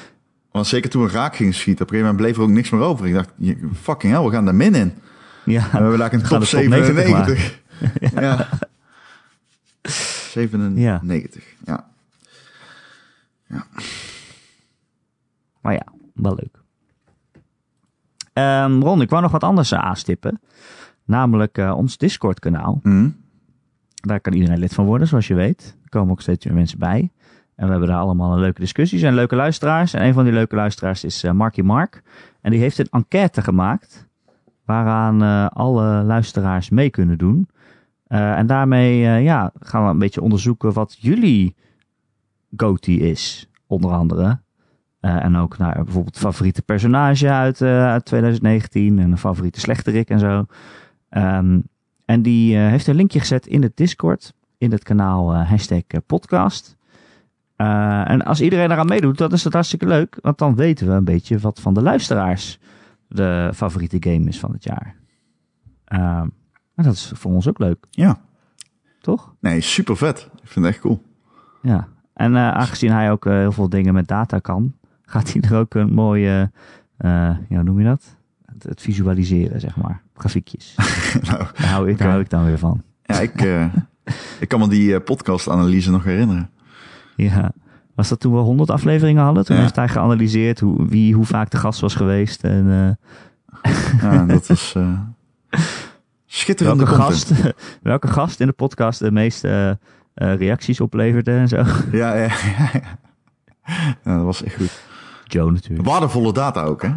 Want zeker toen we raak gingen schieten, op een gegeven moment bleef er ook niks meer over. Ik dacht, je- fucking hell, we gaan daar min in. En
<laughs> Ja,
we hebben daar een
We
top
gaan de top
97. <laughs> ja. 97, ja.
maar ja, wel leuk. Ehm, Ron, ik wou nog wat anders eh, aanstippen. Namelijk eh, ons Discord kanaal.
Hm?
Daar kan iedereen lid van worden, zoals je weet. Er komen ook steeds meer mensen bij. En we hebben daar allemaal een leuke discussies en leuke luisteraars. En een van die leuke luisteraars is eh, Marky Mark. En die heeft een enquête gemaakt. Waaraan eh, alle luisteraars mee kunnen doen. Eh, en daarmee eh, ja, gaan we een beetje onderzoeken wat jullie goatee is, onder andere. Eh, en ook naar bijvoorbeeld favoriete personage uit, eh, uit 2019 en een favoriete slechterik en zo. Ehm, en die eh, heeft een linkje gezet in het Discord, in het kanaal eh, hashtag eh, podcast. Eh, en als iedereen eraan meedoet, dan is dat hartstikke leuk. Want dan weten we een beetje wat van de luisteraars de favoriete game is van het jaar. Ehm, en dat is voor ons ook leuk,
Ja.
toch?
Nee, super vet. Ik vind het echt cool.
Ja. En eh, aangezien hij ook eh, heel veel dingen met data kan, gaat hij er ook een mooie, eh, ja, hoe noem je dat? Het, het
<laughs>
visualiseren, zeg maar. Grafiekjes.
nou,
Daar hou ik, daar
Oké.
hou ik dan weer van. <laughs>
ja, ik, eh, Ik kan me die eh, podcast-analyse nog herinneren.
Ja. Was dat toen we 100 afleveringen hadden? Toen
Ja.
heeft hij geanalyseerd hoe, wie, hoe vaak de gast was geweest. En, eh,
Ja, dat was eh, schitterende
welke
content.
gast, <laughs> welke gast in de podcast de meeste eh, eh, reacties opleverde en zo.
Ja, ja, ja, ja. Ja, dat was echt goed.
Joe natuurlijk.
Waardevolle data ook, hè?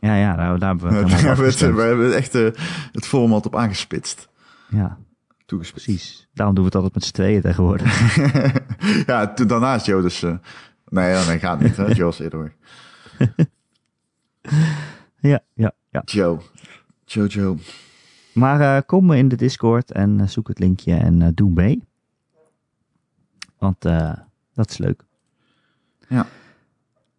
Ja, ja, nou, daar hebben we
Ja,
het
we,
helemaal
hebben het,
afgestemd.
we hebben echt eh, het format op aangespitst.
Ja,
Toegespitst.
precies. Daarom doen we het altijd met z'n tweeën tegenwoordig.
<laughs>
<laughs>
ja, toen daarnaast Joe dus... eh, nee, ja, nee, gaat niet. Hè? Joe was eerder weg.
ja, ja, ja.
Joe. Joe, Joe.
Maar eh, kom in de Discord en eh, zoek het linkje en eh, doe mee. Want eh, dat is leuk.
Ja.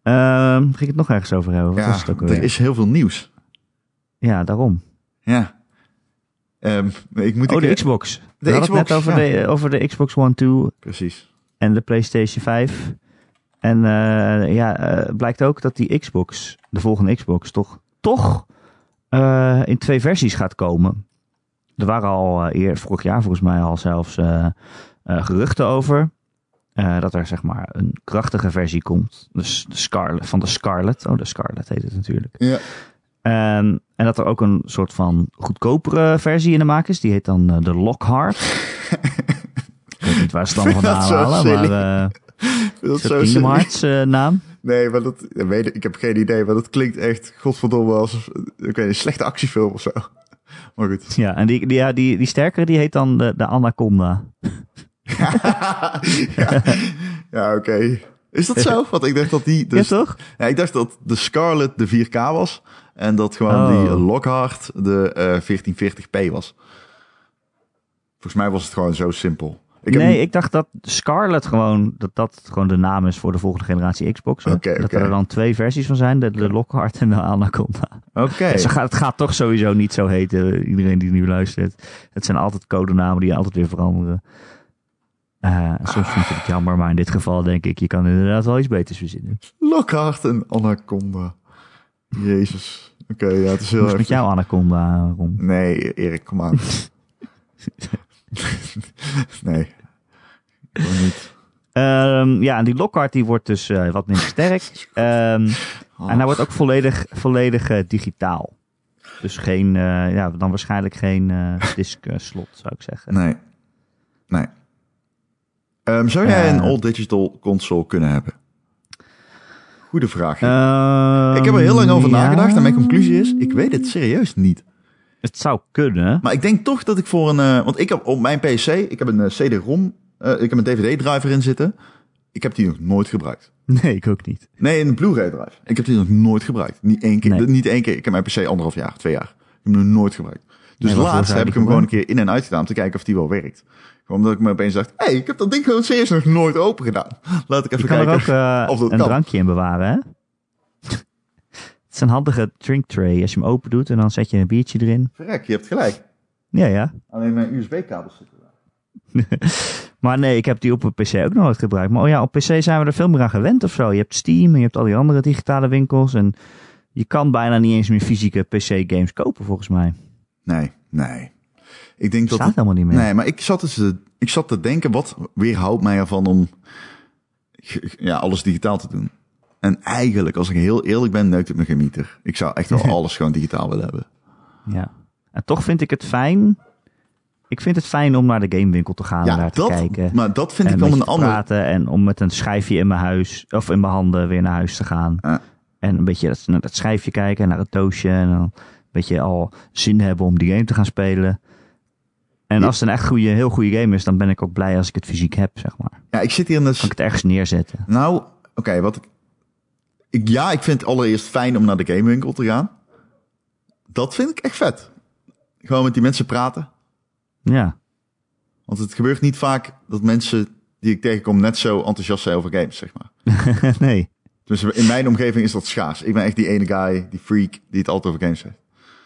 Ehm, ging ik het nog ergens over hebben? Wat was
Ja,
het ook
er
alweer?
is heel veel nieuws.
Ja, daarom.
Ja. Ehm, ik moet
Oh,
ik,
de Xbox.
de
We hadden het
Xbox,
net over, de, over de Xbox One 2
Precies.
en de PlayStation 5. En eh, ja, eh, blijkt ook dat die Xbox, de volgende Xbox, toch, toch eh, in twee versies gaat komen. Er waren al eh, eer, vorig jaar volgens mij al zelfs eh, eh, geruchten over. eh, dat er zeg maar een krachtige versie komt. Dus de Scarlet, van de Scarlet. Oh, de Scarlet heet het natuurlijk.
Ja.
Ehm, en dat er ook een soort van goedkopere versie in de maak is. Die heet dan eh, de
<laughs>
Lockhart. ik weet niet waar ze het dan
vind dat
vandaan
zo
halen,
silly.
maar eh
<laughs> Dat
is dat Ingemaarts eh, naam?
Nee, maar dat, ik, weet, ik heb geen idee, maar dat klinkt echt godverdomme als ik weet, een slechte actiefilm of zo. <laughs> Maar goed. <laughs>
Ja, en die, die, ja, die, die sterkere die heet dan de, de Anaconda.
ja, ja oké. Is dat
<laughs>
zo? Want ik dacht dat die... Dus,
ja, toch?
Ja, ik dacht dat de Scarlet de 4K was. En dat gewoon
Oh.
die Lockhart de eh 1440p was. Volgens mij was het gewoon zo simpel. Ik
nee,
heb,
ik dacht dat Scarlet gewoon, dat dat gewoon de naam is voor de volgende generatie Xbox. hè?
Oké,
dat
oké.
er dan twee versies van zijn, de, de Lockhart en de Anaconda.
Oké.
Ze gaat, het gaat toch sowieso niet zo heten, eh, iedereen die nu luistert. Het zijn altijd codenamen die je altijd weer veranderen. Eh, soms vind ik het jammer, maar in dit geval denk ik, je kan inderdaad wel iets beters verzinnen.
Lockhart en Anaconda. Jezus. Oké, ja, het is heel
Hoe is het met
erg.
jouw Anaconda, Ron?
Nee, Erik, kom aan. nee. Gewoon niet.
Ehm, ja, en die Lockhart die wordt dus eh, wat minder sterk. Ehm, En hij wordt ook volledig, volledig eh, digitaal. Dus geen, eh, ja, dan waarschijnlijk geen eh disk eh, slot, zou ik zeggen.
Nee. Nee. Ehm, zou jij
Eh.
een all-digital console kunnen hebben? Goede vraag.
Ehm,
ik heb er heel lang over
ja.
nagedacht en mijn conclusie is, ik weet het serieus niet.
Het zou kunnen.
Maar ik denk toch dat ik voor een... eh, want ik heb op mijn PC, ik heb een eh, CD-ROM, eh, ik heb een DVD-driver in zitten. Ik heb die nog nooit gebruikt.
Nee, ik ook niet.
Nee, een Blu-ray drive. Ik heb die nog nooit gebruikt. Niet één keer.
Nee.
Niet één keer. Ik heb mijn PC anderhalf jaar, twee jaar. Ik heb hem nog nooit gebruikt. Dus
Nee, waarvoor
laatst
zou je
heb ik
die
hem gewoon een keer in en uit gedaan om te kijken of die wel werkt. Gewoon omdat ik me opeens dacht, hé, hey, ik heb dat ding gewoon serieus nog nooit open gedaan. Laat ik
Je
even
kan er
kijken.
ook eh,
of dat
een
kan.
drankje in bewaren, hè? <laughs> Het is een handige drink tray. Als je hem open doet en dan zet je een biertje erin.
Verrek, je hebt gelijk.
Ja, ja.
Alleen mijn USB-kabels zitten daar.
Maar nee, ik heb die op een PC ook nog nooit gebruikt. Maar oh ja, op PC zijn we er veel meer aan gewend of zo. Je hebt Steam en je hebt al die andere digitale winkels. En je kan bijna niet eens meer fysieke PC-games kopen, volgens mij.
Nee, nee. Ik denk
Dat
dat...
staat helemaal niet meer.
Nee, maar ik zat, dus te, ik zat te denken, wat weerhoudt mij ervan om ge- ja, alles digitaal te doen? En eigenlijk, als ik heel eerlijk ben, neukt het me geen mieter. Ik zou
<laughs>
echt wel alles gewoon digitaal willen hebben.
Ja. En toch vind ik het fijn. Ik vind het fijn om naar de gamewinkel te gaan en daar te kijken.
Maar dat vind
en
ik
met
dan
je
een
te
ander.
praten en om met een schijfje in mijn huis of in mijn handen weer naar huis te gaan.
Ja.
En een beetje dat, naar dat schijfje kijken, naar het doosje. En dan een beetje al zin hebben om die game te gaan spelen. En
Ja.
als het een echt goede, heel goede game is, dan ben ik ook blij als ik het fysiek heb, zeg maar.
Ja, ik zit hier in
Kan
de.
ik het ergens neerzetten.
Nou, oké, wat ik, ik. Ja, ik vind het allereerst fijn om naar de gamewinkel te gaan. Dat vind ik echt vet. Gewoon met die mensen praten.
Ja,
Want het gebeurt niet vaak dat mensen die ik tegenkom net zo enthousiast zijn over games, zeg maar.
<laughs> nee.
Dus in mijn omgeving is dat schaars. Ik ben echt die ene guy, die freak, die het altijd over games heeft.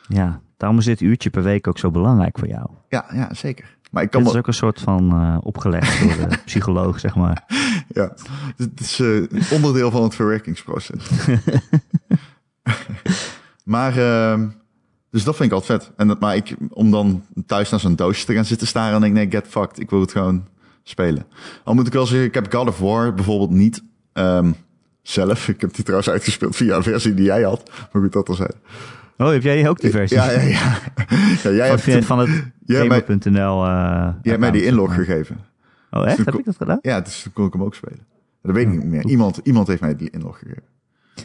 Ja, daarom is dit uurtje per week ook zo belangrijk voor jou.
Ja, ja, zeker. Maar ik kan
Dit is
wel...
ook een soort van eh, opgelegd door <laughs> de psycholoog, zeg maar.
Ja, het is eh, onderdeel <laughs> van het verwerkingsproces. maar ehm, Dus dat vind ik altijd vet. En dat, maar ik, om dan thuis naar zo'n doosje te gaan zitten staren en denk ik, nee, get fucked. Ik wil het gewoon spelen. Al moet ik wel zeggen, ik heb God of War bijvoorbeeld niet ehm, zelf. Ik heb die trouwens uitgespeeld via een versie die jij had. Maar goed, dat al zei.
Oh, heb jij ook die versie?
Ja, ja, ja. ja
Van,
jij hebt,
Oh, via- van het
Ja, maar-
gamer.nl. eh
jij hebt mij die
account.
inlog gegeven.
Oh, echt?
Dus
Heb
ik-
ik dat gedaan?
Ja, dus toen kon ik hem ook spelen. Dat weet ik niet meer. Iemand, iemand heeft mij die inlog gegeven.
<laughs>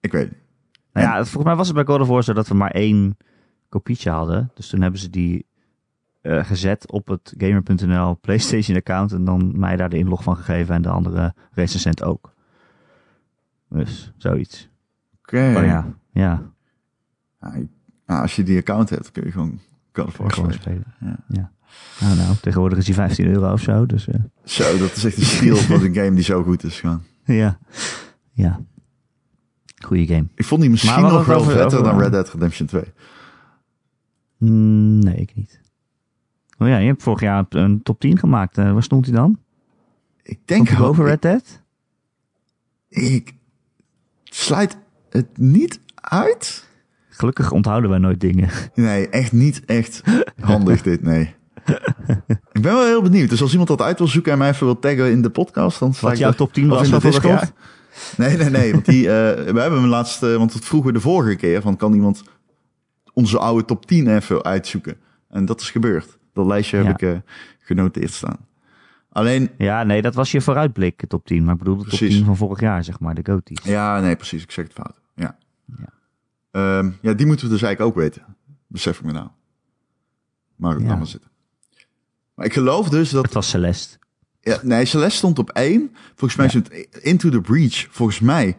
ik weet het niet.
Nou ja, het- volgens mij was het bij God of War zo dat we maar één kopietje hadden. Dus toen hebben ze die eh, gezet op het gamer.nl PlayStation account. En dan mij daar de inlog van gegeven en de andere recensent ook. Dus zoiets.
Oké.
Maar Oh, ja, ja.
Ja, je- ja, als je die account hebt, kun je gewoon God of War
Gewoon
spelen.
spelen.
Ja.
Ja. Nou, nou, tegenwoordig is die 15 euro of zo. Dus eh, <laughs>
Zo, dat is echt een steal van een game die zo goed is. Gewoon.
ja. Ja. Goeie game.
Ik vond die misschien
Maar we
nog
hadden
wel
het over-
vetter dan
over-
Red Dead Redemption 2.
Mm, nee, ik niet. Oh ja, je hebt vorig jaar een top 10 gemaakt. Eh, waar stond hij dan?
Ik denk
Stond hij boven
ik-
Red Dead?
Ik sluit het niet uit.
Gelukkig onthouden wij nooit dingen. <laughs>
Nee, echt niet echt handig dit, nee. Ik ben wel heel benieuwd. Dus als iemand dat uit wil zoeken en mij even wil taggen in de podcast, dan sta
Wat
ik
jouw
er-
top 10
of
was
in de
van vorig
Discord.
jaar?
Nee, nee, nee. Want die, eh, we hebben hem laatst, eh, want dat vroegen we de vorige keer, van kan iemand onze oude top 10 even uitzoeken? En dat is gebeurd. Dat lijstje heb
Ja.
ik eh, genoteerd staan. Alleen,
Ja, nee, dat was je vooruitblik, de top 10. Maar ik bedoel de top
Precies.
10 van vorig jaar, zeg maar, de goaties.
ja, nee, precies. Ik zeg het fout. Ja.
Ja.
Ja, ja die moeten we dus eigenlijk ook weten. Besef ik me nou. Maar
Ja.
laat maar zitten. Maar ik geloof dus dat
Het was Celeste.
Ja, nee, Celeste stond op één. Volgens mij
Ja.
stond Into the Breach volgens mij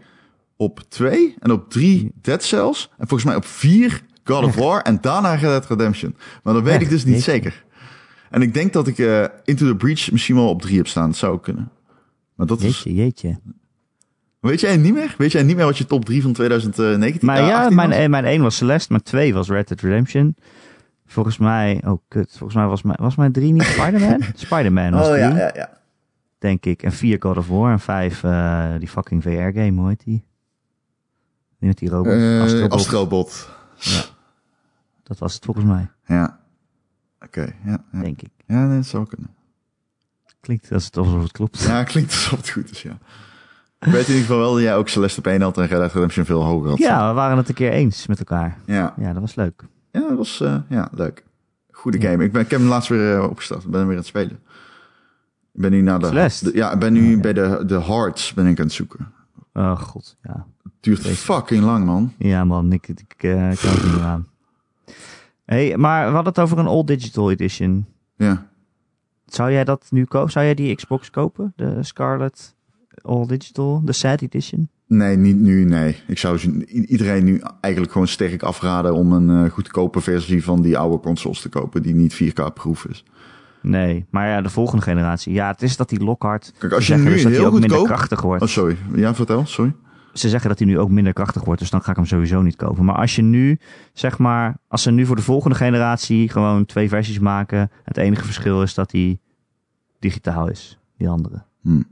op twee. En op drie Dead Cells. En volgens mij op vier God of War. En daarna Red Dead Redemption. Maar dat weet
Echt?
ik dus niet
Jeetje.
zeker. En ik denk dat ik eh, Into the Breach misschien wel op drie heb staan. Dat zou ook kunnen. Maar dat is...
Jeetje, jeetje.
Weet jij niet meer? Weet jij niet meer wat je top drie van 2019
Maar
eh,
ja,
18 was?
mijn, eh, mijn 1 was Celeste, mijn 2 was Red Dead Redemption. Volgens mij, oh kut, volgens mij was mijn, was mijn 3 niet
<laughs>
Spider-Man? Spider-Man was
Oh
drie,
ja, ja, ja.
denk ik. En 4 God of War en 5 eh, die fucking VR-game, hoe heet die? Die met die robot,
Eh,
Astrobot.
Astrobot.
Dat was het volgens mij,
Ja. Oké, ja. Ja,
denk ik.
ja nee, dat zou kunnen.
Klinkt als het alsof het klopt.
Ja, <laughs> klinkt alsof het goed is, ja. Ik weet in ieder geval wel dat jij ook Celeste op één had en Red Dead Redemption veel hoger had.
Ja, we waren het een keer eens met elkaar.
Ja,
Ja, dat was leuk.
ja dat was eh, ja, leuk. Goede game. Ik, ben, ik heb hem laatst weer eh, opgestart. Ik ben hem weer aan het spelen. Ik ben nu naar de...
Celeste?
de- ja, ik ben nu bij de, de Hearts ben ik aan het zoeken.
Oh god, ja.
Het duurt fucking lang, man.
Ja, man, ik, ik, ik, eh, ik kan het niet meer aan. hey, maar we hadden het over een all digital edition.
Ja.
Zou jij dat nu kopen? Zou jij die Xbox kopen? De Scarlet all digital, de sad edition?
Nee, niet nu, nee. Ik zou ze- i- iedereen nu eigenlijk gewoon sterk afraden om een eh, goedkope versie van die oude consoles te kopen die niet 4K proof is.
Nee, maar ja, de volgende generatie. Ja, het is dat die Lockhart.
Kijk, als
ze
je
zeggen
nu
dus dat die
heel
ook minder
goedkoop...
krachtig wordt.
Oh, sorry. Ja, vertel, sorry.
Ze zeggen dat hij nu ook minder krachtig wordt, dus dan ga ik hem sowieso niet kopen. Maar als je nu, zeg maar, als ze nu voor de volgende generatie gewoon twee versies maken, het enige verschil is dat die digitaal is, die andere.
Hmm.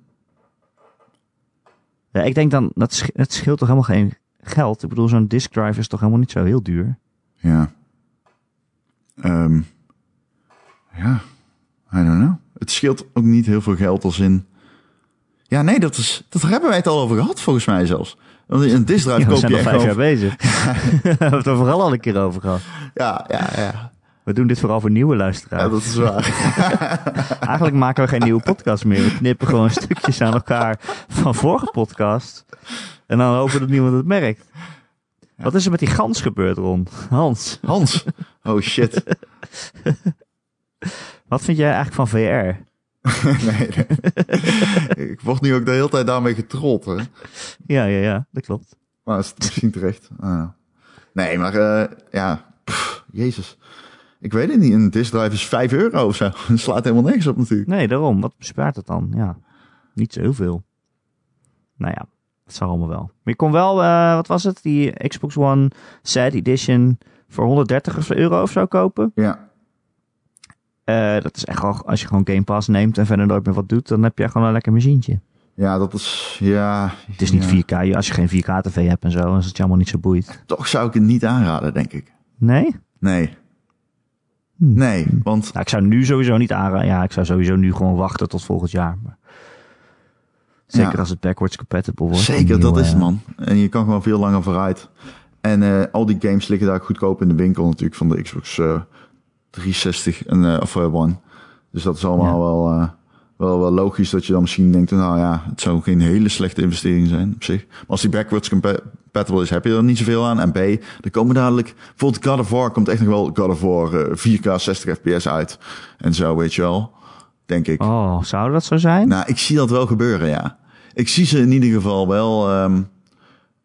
Ja, ik denk dan, dat sch- het scheelt toch helemaal geen geld? Ik bedoel, zo'n disk drive is toch helemaal niet zo heel duur?
Ja. Ehm, ja, I don't know. Het scheelt ook niet heel veel geld als in... Ja, nee, dat is, dat daar hebben wij het al over gehad, volgens mij zelfs. Want een disk drive
Ja, we
koop
zijn
je
al
echt
vijf jaar
gewoon...
bezig.
<laughs>
<laughs> We hebben het er vooral al een keer over gehad.
Ja, ja, ja,
We doen dit vooral voor nieuwe
ja,
luisteraars.
dat
<laughs>
is waar.
Eigenlijk maken we geen nieuwe podcast meer. We knippen gewoon stukjes aan elkaar van vorige podcast. En dan hopen dat niemand het merkt. Wat is er met die gans gebeurd, Ron? Hans,
Hans, oh shit.
wat vind jij eigenlijk van VR?
<laughs> Nee, nee. Ik word nu ook de hele tijd daarmee getrold, hè.
Ja, ja, ja, dat klopt.
Maar is het misschien terecht. Ah. Nee, maar eh, ja, Pff, jezus. Ik weet het niet, een disk drive is 5 euro of zo. <laughs> Dat slaat helemaal niks op natuurlijk.
Nee, daarom. Wat bespaart het dan? Ja, niet zo heel veel. Nou ja, dat zal allemaal wel. Maar je kon wel, eh, wat was het? Die Xbox One Sad Edition voor 130 of zo euro of zo kopen.
Ja,
Eh, dat is echt al, als je gewoon Game Pass neemt en verder nooit meer wat doet, dan heb je gewoon een lekker machientje.
ja dat is... Ja,
Het is niet 4K. Als je geen 4K tv hebt en zo, dan is het je allemaal niet zo boeit.
Toch zou ik het niet aanraden, denk ik.
Nee?
Nee. Nee, want
Nou, ik zou nu sowieso niet aanraden. Ja, ik zou sowieso nu gewoon wachten tot volgend jaar. Maar zeker
Ja.
als het backwards compatible wordt.
zeker,
Opnieuw,
dat is
eh,
het man. En je kan gewoon veel langer vooruit. En eh, al die games liggen daar goedkoop in de winkel natuurlijk van de Xbox eh, 360 en, eh, of eh, One. Dus dat is allemaal
Ja.
wel, eh, wel, wel logisch dat je dan misschien denkt, nou ja, het zou geen hele slechte investering zijn op zich. Maar als die backwards compa- compatible is, heb je er niet zoveel aan. En B, er komen dadelijk, bijvoorbeeld God of War komt echt nog wel God of War eh, 4K 60 fps uit. En zo, weet je wel, denk ik.
Oh, zou dat zo zijn?
Nou, ik zie dat wel gebeuren, ja. Ik zie ze in ieder geval wel. ehm,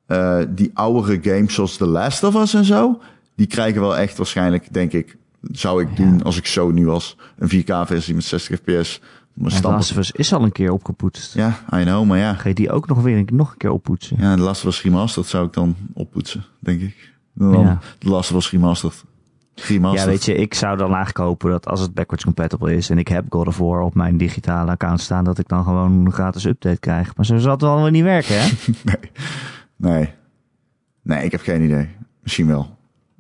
eh, die oudere games zoals The Last of Us en zo. Die krijgen wel echt waarschijnlijk, denk ik. Zou ik doen als ik zo nu was. Een 4K-versie met 60 fps. Mijn
en
stampen.
Last of Us is al een keer opgepoetst.
Ja, I know, maar ja.
Ga je die ook nog weer een, nog een keer oppoetsen?
Ja, The Last of Us Remastered zou ik dan oppoetsen, denk ik. En Dan
Ja.
The Last of Us Remastered. Remastered.
Ja, weet je, ik zou dan eigenlijk hopen dat als het backwards compatible is en ik heb God of War op mijn digitale account staan, dat ik dan gewoon een gratis update krijg. Maar zo zal het wel weer niet werken,
<laughs>
hè?
Nee. Nee, ik heb geen idee. Misschien wel.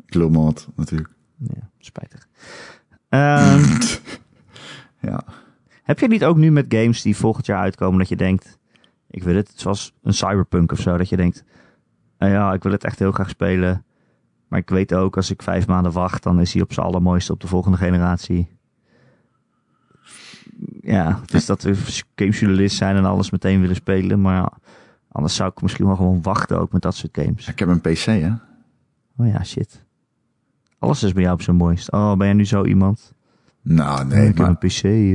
Ik loop maar wat, natuurlijk.
ja, spijtig. Ehm,
Ja.
heb je niet ook nu met games die volgend jaar uitkomen dat je denkt, ik wil het, zoals een cyberpunk of zo, dat je denkt, eh, ja, ik wil het echt heel graag spelen. Maar ik weet ook, als ik vijf maanden wacht, dan is hij op zijn allermooiste op de volgende generatie. Ja, het is dat we gamejournalist zijn en alles meteen willen spelen. Maar ja, anders zou ik misschien wel gewoon wachten ook met dat soort games.
Ik heb een PC, hè?
Oh ja, shit. Alles is bij jou op zijn mooist. Oh, ben jij nu zo iemand?
Nou, nee,
ik heb
maar
een PC, eh,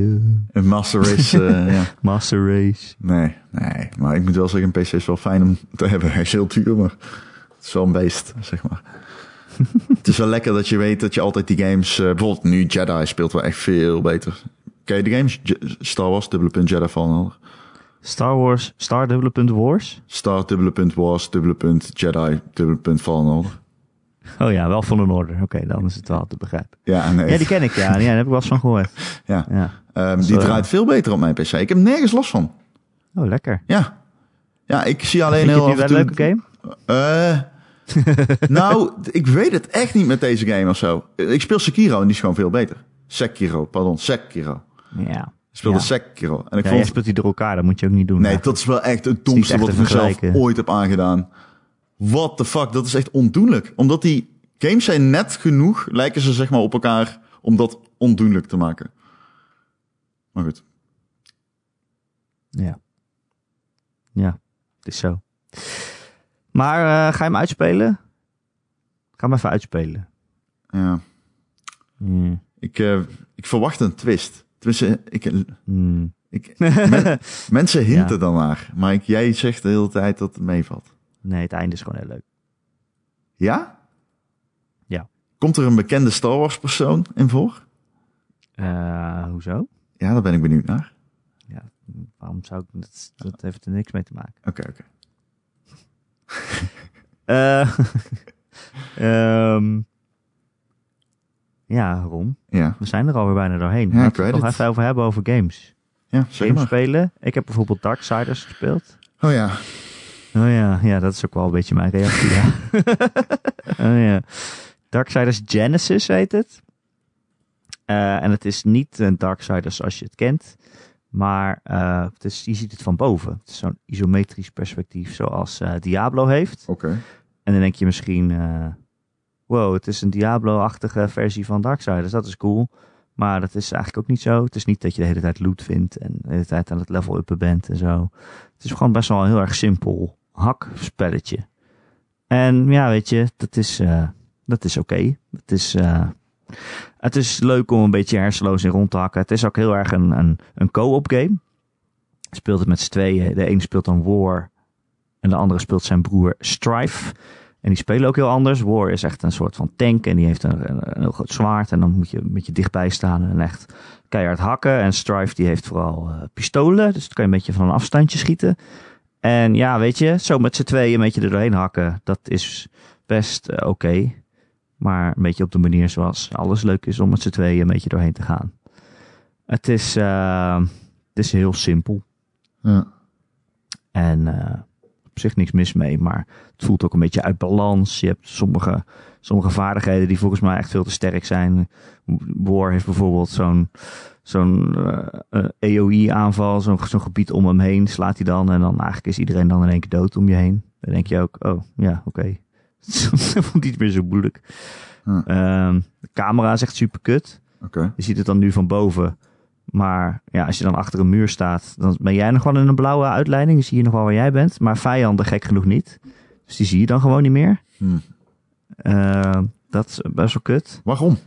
een Master
<laughs>
Race, eh, ja.
Master Race.
Nee, nee. Maar ik moet wel zeggen, een PC is wel fijn om te hebben. <laughs> Hij is heel duur, maar het is wel een beest, zeg
<laughs>
maar. het is wel lekker dat je weet dat je altijd die games... eh, bijvoorbeeld nu Jedi speelt wel echt veel beter. Ken je de games? Je- Star Wars, dubbele punt Jedi Fallen Order.
Star Wars, Star dubbele punt Wars.
Star, dubbele punt Wars, dubbele punt Jedi, dubbele punt Fallen Order.
Oh ja, wel van een order. Oké, dan is het wel te begrijpen.
Ja, nee.
Ja, die ken ik, ja. Ja, daar heb ik wel eens van gehoord.
ja.
Ja.
Ehm, die
Zo, ja.
draait veel beter op mijn PC. Ik heb nergens last van.
Oh, lekker.
Ja. Ja, ik zie alleen
Vind je het
heel
nu
af
wel
en
een
toe...
leuke game?
Eh nou, ik weet het echt niet met deze game of zo. Ik speel Sekiro en die is gewoon veel beter. Sekiro, pardon, Sekiro.
Ja.
Ik speelde
ja.
Sekiro. En ik
Ja, jij
vond...
speelt die door elkaar, dat moet je ook niet doen.
Nee,
hè?
dat is wel echt het
niet
domste
echt eh.
wat ik
te
mezelf
vergelijken.
ooit heb aangedaan. What the fuck, dat is echt ondoenlijk. Omdat die games zijn net genoeg, lijken ze zeg maar op elkaar, om dat ondoenlijk te maken. Maar goed.
Ja. Ja, het is zo. Maar eh, ga je hem uitspelen? Ga hem even uitspelen.
Ja.
Hmm.
Ik, eh, ik verwacht een twist. Tenminste, ik,
Hmm.
Ik,
<laughs>
men- mensen hinten dan naar, maar ik, jij zegt de hele tijd dat het meevalt.
Nee, het einde is gewoon heel leuk.
Ja?
Ja.
Komt er een bekende Star Wars persoon in voor?
Eh, hoezo?
Ja, daar ben ik benieuwd naar.
Ja, waarom zou ik... Dat, dat heeft er niks mee te maken.
Oké, oké.
Eh, <laughs> ehm, ja, Rom.
Ja,
We zijn er alweer bijna doorheen.
Ja,
Laten
ik
we het
weet
nog
het.
even over hebben over games.
ja zeg
Games
maar.
spelen. Ik heb bijvoorbeeld Darksiders gespeeld.
Oh ja,
Oh ja, ja, dat is ook wel een beetje mijn reactie.
<laughs>
ja. oh ja. Darksiders Genesis heet het. Eh, en het is niet een Darksiders zoals je het kent. Maar eh, het is, je ziet het van boven. Het is zo'n isometrisch perspectief zoals eh, Diablo heeft.
oké.
En dan denk je misschien, eh, wow, het is een Diablo-achtige versie van Darksiders. Dat is cool. Maar dat is eigenlijk ook niet zo. Het is niet dat je de hele tijd loot vindt en de hele tijd aan het level uppen bent en zo. Het is gewoon best wel een heel erg simpel hakspelletje. En ja, weet je, dat is, eh, dat is oké. Het is... eh, het is leuk om een beetje hersenloos in rond te hakken. Het is ook heel erg een, een, een co-op game. Je Speelt het met z'n tweeën. De ene speelt dan War. En de andere speelt zijn broer Strife. En die spelen ook heel anders. War is echt een soort van tank en die heeft een, een, een heel groot zwaard. En dan moet je een beetje dichtbij staan en echt keihard hakken. En Strife die heeft vooral eh, pistolen, dus dan kan je een beetje van een afstandje schieten. En ja, weet je, zo met z'n tweeën een beetje er doorheen hakken, dat is best eh, oké. Maar een beetje op de manier zoals alles leuk is om met z'n tweeën een beetje doorheen te gaan. Het is, eh, het is heel simpel.
Ja.
En eh, op zich niks mis mee, maar het voelt ook een beetje uit balans. Je hebt sommige, sommige vaardigheden die volgens mij echt veel te sterk zijn. War heeft bijvoorbeeld zo'n zo'n eh, EOI-aanval, E zo'n zo'n gebied om hem heen slaat hij dan en dan eigenlijk is iedereen dan in één keer dood om je heen. Dan denk je ook, oh ja, oké. <laughs> dat vond niet meer zo moeilijk.
Hm.
Ehm, de camera is echt super kut.
Oké.
Je ziet het dan nu van boven. Maar ja, als je dan achter een muur staat, dan ben jij nog wel in een blauwe uitleiding. Dan zie je nog wel waar jij bent. Maar vijanden gek genoeg niet. Dus die zie je dan gewoon niet meer.
Hm.
Ehm, dat is best wel kut.
Waarom?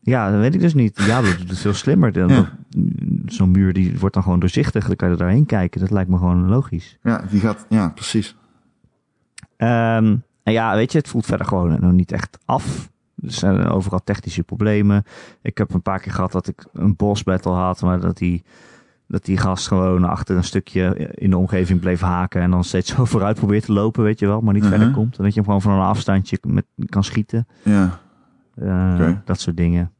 Ja, dat weet ik dus niet. Ja, dat doet het veel slimmer. Dan-
Ja.
Zo'n muur die wordt dan gewoon doorzichtig. Dan kan je er doorheen kijken. Dat lijkt me gewoon logisch.
Ja, die gaat, ja, precies.
Ehm, en ja, weet je, het voelt verder gewoon nog niet echt af. Er zijn overal technische problemen. Ik heb een paar keer gehad dat ik een boss battle had, maar dat die, dat die gast gewoon achter een stukje in de omgeving bleef haken en dan steeds <laughs> zo vooruit probeert te lopen, weet je wel, maar niet
Mhm.
verder komt. En dat je hem gewoon van een afstandje met, kan schieten.
Ja.
Eh,
Oké.
Dat soort dingen.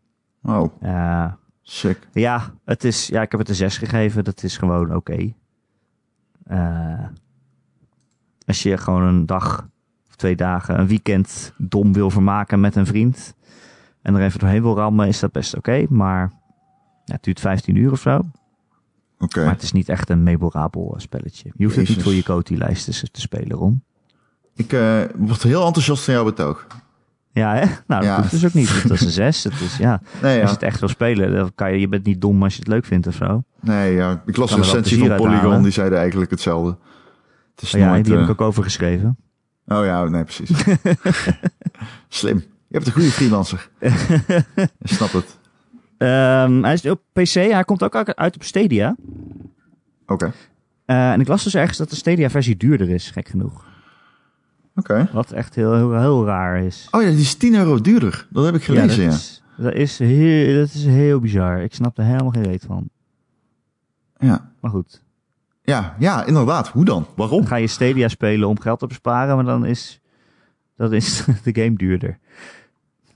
Wow,
Eh,
sick.
ja, het is, ja, ik heb het een 6 gegeven. Dat is gewoon oké. Eh, als je gewoon een dag of twee dagen, een weekend dom wil vermaken met een vriend. En er even doorheen wil rammen, is dat best oké. maar ja, het duurt 15 uur of zo.
Oké.
Maar het is niet echt een memorabel eh, spelletje. Je hoeft het niet
Jezus.
voor je Coty-lijst te, te spelen, Ron.
Ik eh, word heel enthousiast van jouw betoog.
Ja, hè? Nou, dat
Ja.
hoeft dus ook niet. Dat is een 6. Dat is, ja.
Nee,
Als
ja.
je het echt wil spelen, dan kan je, je bent niet dom als je het leuk vindt of zo. Oh
Nee, ja. Ik las
Kan
een
er wel
recensie
plezier
van
uit
Polygon,
halen.
die zeiden eigenlijk hetzelfde. Het is
Maar ja,
nooit...
die heb
eh,
ik ook overgeschreven.
Oh ja, nee,
<laughs>
precies. Slim. Je hebt een goede
<laughs>
freelancer. Ik snap het.
Ehm, hij is op PC, hij komt ook uit op Stadia.
Oké.
Eh, en ik las dus ergens dat de Stadia-versie duurder is, gek genoeg.
Oké.
Wat echt heel, heel, heel raar is.
Oh ja, die is 10 euro duurder. Dat heb ik gelezen, ja.
dat, is, dat, is heel, dat is heel bizar. Ik snap er helemaal geen reet van.
Ja.
Maar goed,
Ja, ja, inderdaad. Hoe dan? Waarom?
dan ga je Stadia spelen om geld te besparen, maar dan is, dat is <laughs> de game duurder.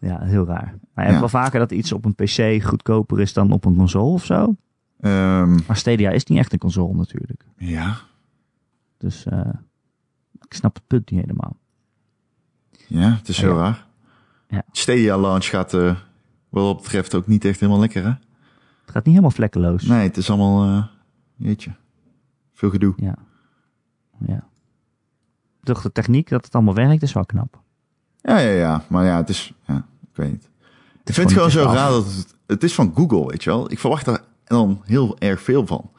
Ja, heel raar. Maar je hebt
Ja.
wel vaker dat iets op een PC goedkoper is dan op een console of zo.
Ehm,
Maar Stadia is niet echt een console natuurlijk.
ja.
Dus eh, ik snap het punt niet helemaal.
Ja, het is heel raar.
Ja.
Stadia launch gaat eh, wat dat betreft ook niet echt helemaal lekker, hè?
Het gaat niet helemaal vlekkeloos.
Nee, het is allemaal, eh, jeetje, veel gedoe.
Ja. Ja. Toch de techniek dat het allemaal werkt is wel knap.
Ja, ja, ja. Maar ja, het is, ja, ik weet niet. ik
gewoon
vind het gewoon
niet
zo
echt af.
raar dat het, het is van Google, weet je wel. Ik verwacht daar dan heel erg veel van.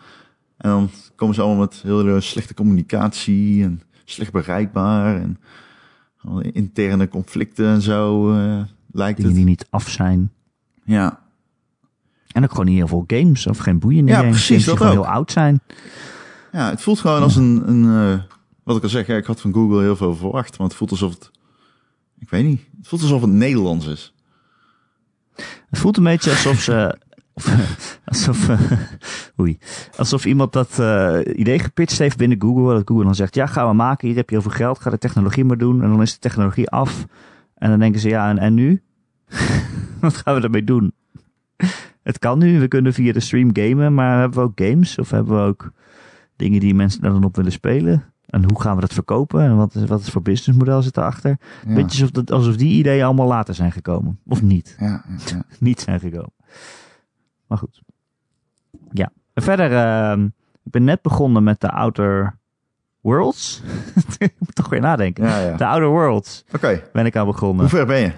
En dan komen ze allemaal met hele slechte communicatie en slecht bereikbaar en allemaal interne conflicten en zo, eh, lijkt
Dingen
het.
die niet af zijn.
Ja,
En ook gewoon niet heel veel games of geen boeiende
Ja,
games.
precies,
games die
dat
gewoon
ook.
heel oud zijn.
Ja, het voelt gewoon als een, een eh, wat ik al zeg, ja, ik had van Google heel veel verwacht, maar het voelt alsof het, ik weet niet, het voelt alsof het Nederlands is.
Het voelt een beetje alsof ze... of, <laughs> alsof, eh, oei. alsof iemand dat eh, idee gepitcht heeft binnen Google. Dat Google dan zegt, ja gaan we maken. Hier heb je heel veel geld. Ga de technologie maar doen. En dan is de technologie af. En dan denken ze, ja en, en nu? <laughs> Wat gaan we daarmee doen? Het kan nu. We kunnen via de stream gamen. Maar hebben we ook games? Of hebben we ook dingen die mensen daar dan op willen spelen? En hoe gaan we dat verkopen? En wat is, wat is voor businessmodel zit erachter?
Ja,
Beetje alsof, dat, alsof die ideeën allemaal later zijn gekomen. Of niet
ja, ja, ja.
niet zijn gekomen. Maar goed. Ja. En verder, ehm, ik ben net begonnen met de Outer Worlds. <laughs> ik moet toch weer nadenken.
ja, ja.
De Outer Worlds
Oké,
ben ik aan begonnen.
hoe ver ben je?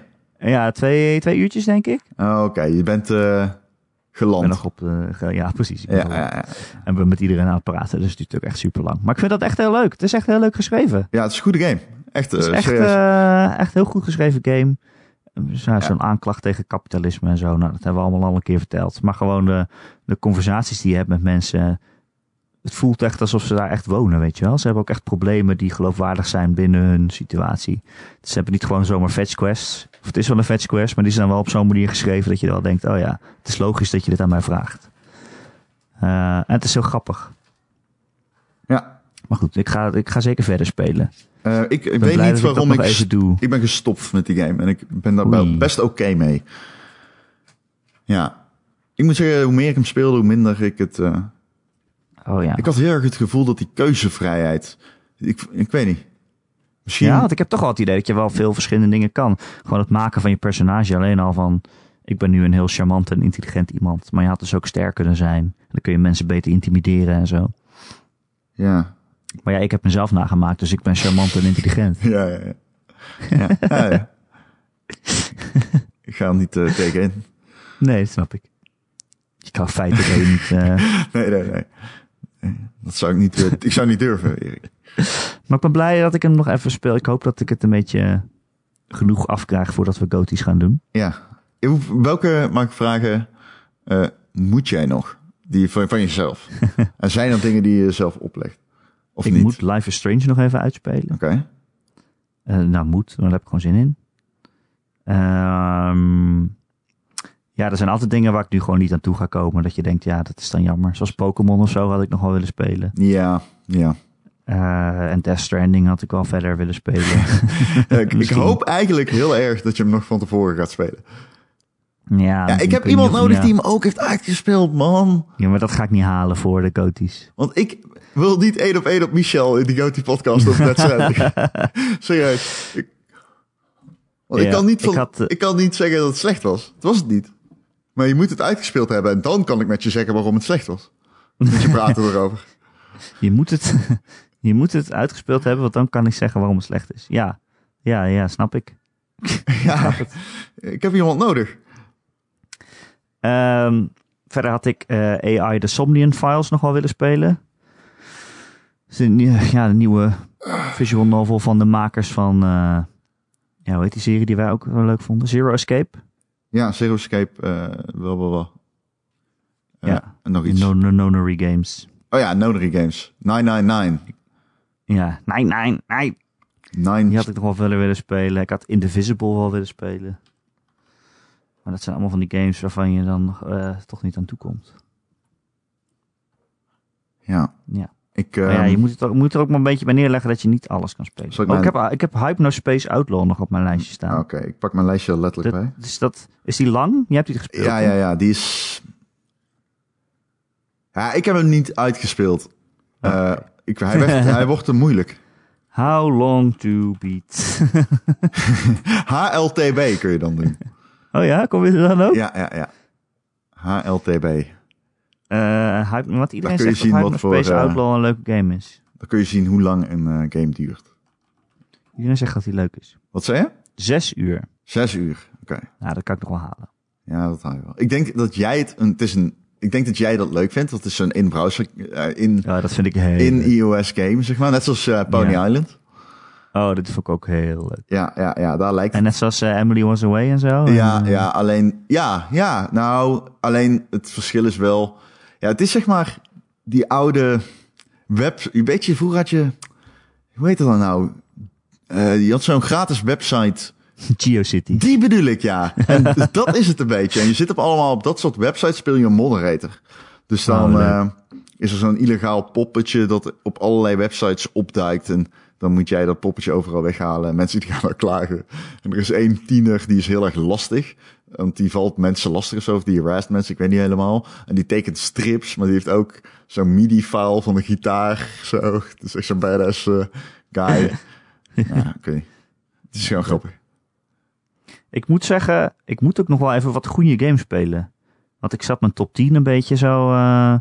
Ja, twee, twee uurtjes denk ik. Ik
Oh, Oké, je bent eh,
ben
geland.
nog op... eh, ge- ja, precies. Ik
ja,
ben
ja,
nog-
ja.
En we met iedereen aan het praten. Dus het duurt ook echt super lang. Maar ik vind dat echt heel leuk. Het is echt heel leuk geschreven.
ja, het is een goede game. Echt,
Het is
eh,
echt,
serieus.
eh, echt heel goed geschreven game. Eh, zo- Zo'n aanklacht tegen kapitalisme en zo. Nou, dat hebben we allemaal al een keer verteld. Maar gewoon de, de conversaties die je hebt met mensen. Het voelt echt alsof ze daar echt wonen, weet je wel. Ze hebben ook echt problemen die geloofwaardig zijn binnen hun situatie. Ze hebben niet gewoon zomaar fetch quests. Of het is wel een fetch quest, maar die zijn wel op zo'n manier geschreven dat je wel denkt: oh ja, het is logisch dat je dit aan mij vraagt. Eh, en het is heel grappig.
ja.
Maar goed, ik ga, ik ga zeker verder spelen. Ik
Eh, ik ik
ben
weet
blij
niet
dat ik dat
waarom
nog
ik,
even doe.
ik ben gestopt met die game en ik ben daar
Oei.
wel best oké mee. Ja, ik moet zeggen, hoe meer ik hem speelde, hoe minder ik het... eh,
Oh ja.
Ik had heel erg het gevoel dat die keuzevrijheid Ik, ik weet niet. Misschien.
Ja, want ik heb toch wel het idee dat je wel veel verschillende dingen kan. Gewoon het maken van je personage alleen al van... Ik ben nu een heel charmant en intelligent iemand. Maar je had dus ook sterk kunnen zijn. Dan kun je mensen beter intimideren en zo.
ja. <laughs>
Maar ja, ik heb mezelf nagemaakt, dus ik ben charmant en intelligent.
Ja, ja, ja. ja, ja, ja. ik ga hem niet eh, tegenin.
<laughs> Nee, dat snap ik. Je kan feitelijk ook niet... eh,
Nee, nee, nee. Nee, Dat zou ik niet, eh, ik zou niet durven, Erik.
Maar ik ben blij dat ik hem nog even speel. Ik hoop dat ik het een beetje eh, genoeg afkrijg voordat we goties gaan doen.
Ja. Ik hoef- Welke, mag ik vragen, eh, moet jij nog? Die van,
<laughs>
van jezelf. en zijn dat dingen die je zelf oplegt? Of
ik
niet?
moet Life is Strange nog even uitspelen.
Oké.
Eh, nou, moet. Daar heb ik gewoon zin in. Ehm, ja, er zijn altijd dingen waar ik nu gewoon niet aan toe ga komen. Dat je denkt, ja, dat is dan jammer. Zoals Pokémon of zo had ik nog wel willen spelen.
Ja, ja.
Eh, en Death Stranding had ik wel verder willen spelen.
<laughs> Ja, ik, ik
Misschien.
hoop eigenlijk heel erg dat je hem nog van tevoren gaat spelen.
ja,
Ja,
dan
ik heb
kun je
iemand
niet-
nodig
ja.
die hem ook heeft uitgespeeld, man.
Ja, maar dat ga ik niet halen voor de goties.
Want ik wil niet één op één op Michel in die Goatie podcast of net
<laughs>
Serieus. Ik, want ik,
Ja,
kan niet van,
ik
ik,
had, eh,
kan niet zeggen dat het slecht was. Het was het niet. Maar je moet het uitgespeeld hebben en dan kan ik met je zeggen waarom het slecht was. Want je
<laughs>
praat erover.
Je moet het, <laughs> je moet het uitgespeeld hebben, want dan kan ik zeggen waarom het slecht is. Ja, ja, ja, snap ik.
Ja, ik heb iemand nodig.
Ehm, verder had ik eh, AI de Somnian Files nog wel willen spelen. Dat is een nie- ja, de nieuwe <laughs> visual novel van de makers van... eh, ja, hoe heet die serie die wij ook wel leuk vonden? Zero Escape?
Ja, Zero Escape, eh wel, wel, wel. Eh,
Ja.
en nog
De
iets.
No No Nonary Games.
oh ja, Nonary Games. 999.
Ja, nee, nee, nee. Die
Nine.
had ik nog wel willen willen spelen. Ik had Indivisible wel willen spelen. Maar dat zijn allemaal van die games waarvan je dan eh, toch niet aan toe komt.
Ja.
Ja.
Ik,
Maar ja,
ehm,
je moet, het ook, moet er ook maar een beetje bij neerleggen dat je niet alles kan spelen.
Zal ik
Oh, ik,
mijn- Oh.
heb, ik heb Hypnospace Outlaw nog op mijn lijstje staan.
Oké, ik pak mijn lijstje er letterlijk bij.
Dat, dus dat, is die lang? Je hebt die gespeeld?
Ja,
hè?
ja, ja, die is. Ja, ik heb hem niet uitgespeeld. Eh, ik, hij, <laughs> werd, hij wordt te moeilijk.
How long to beat? <laughs>
HLTB kun je dan doen.
oh ja, kom je er dan ook?
Ja, ja, ja. HLTB.
Eh, Hype- want
kun je
iedereen zegt
zien
dat
wat
Hypnospace
voor, eh,
Outlaw een leuke game is.
Dan kun je zien hoe lang een eh, game duurt.
Iedereen zegt dat die leuk is.
Wat zei je?
Zes uur.
Zes uur. Oké.
Nou, dat kan ik nog wel halen.
Ja, dat haal je wel. Ik denk dat jij het. Een, het is een, ik denk dat jij dat leuk vindt. Dat is een in-browser. eh, in,
Ja, dat vind ik heel
in
leuk.
iOS game, zeg maar. Net zoals eh, Pony
Ja.
Island.
Oh, dit vond ik ook heel leuk.
Ja, ja, ja, daar lijkt
En net zoals eh, Emily Was Away en zo.
Ja,
En,
ja, alleen, ja, ja, nou, alleen het verschil is wel, ja, het is zeg maar die oude web, een beetje vroeger had je, hoe heet dat dan nou? Eh, je had zo'n gratis website.
<laughs> GeoCity.
Die bedoel ik, ja. En <laughs> dat is het een beetje. En je zit op allemaal op dat soort websites speel je een moderator. Dus dan
Oh, leuk.
eh, is er zo'n illegaal poppetje dat op allerlei websites opduikt. En dan moet jij dat poppetje overal weghalen. En mensen die gaan dan klagen. En er is één tiener die is heel erg lastig. Want die valt mensen lastig of zo. Of die harassed mensen, ik weet niet helemaal. En die tekent strips, maar die heeft ook zo'n midi-file van een gitaar. Zo. Het is echt zo'n badass eh, guy. ja, oké. Het is gewoon grappig.
Ik moet zeggen, ik moet ook nog wel even wat goede games spelen. Want ik zat mijn top 10 een beetje zo eh,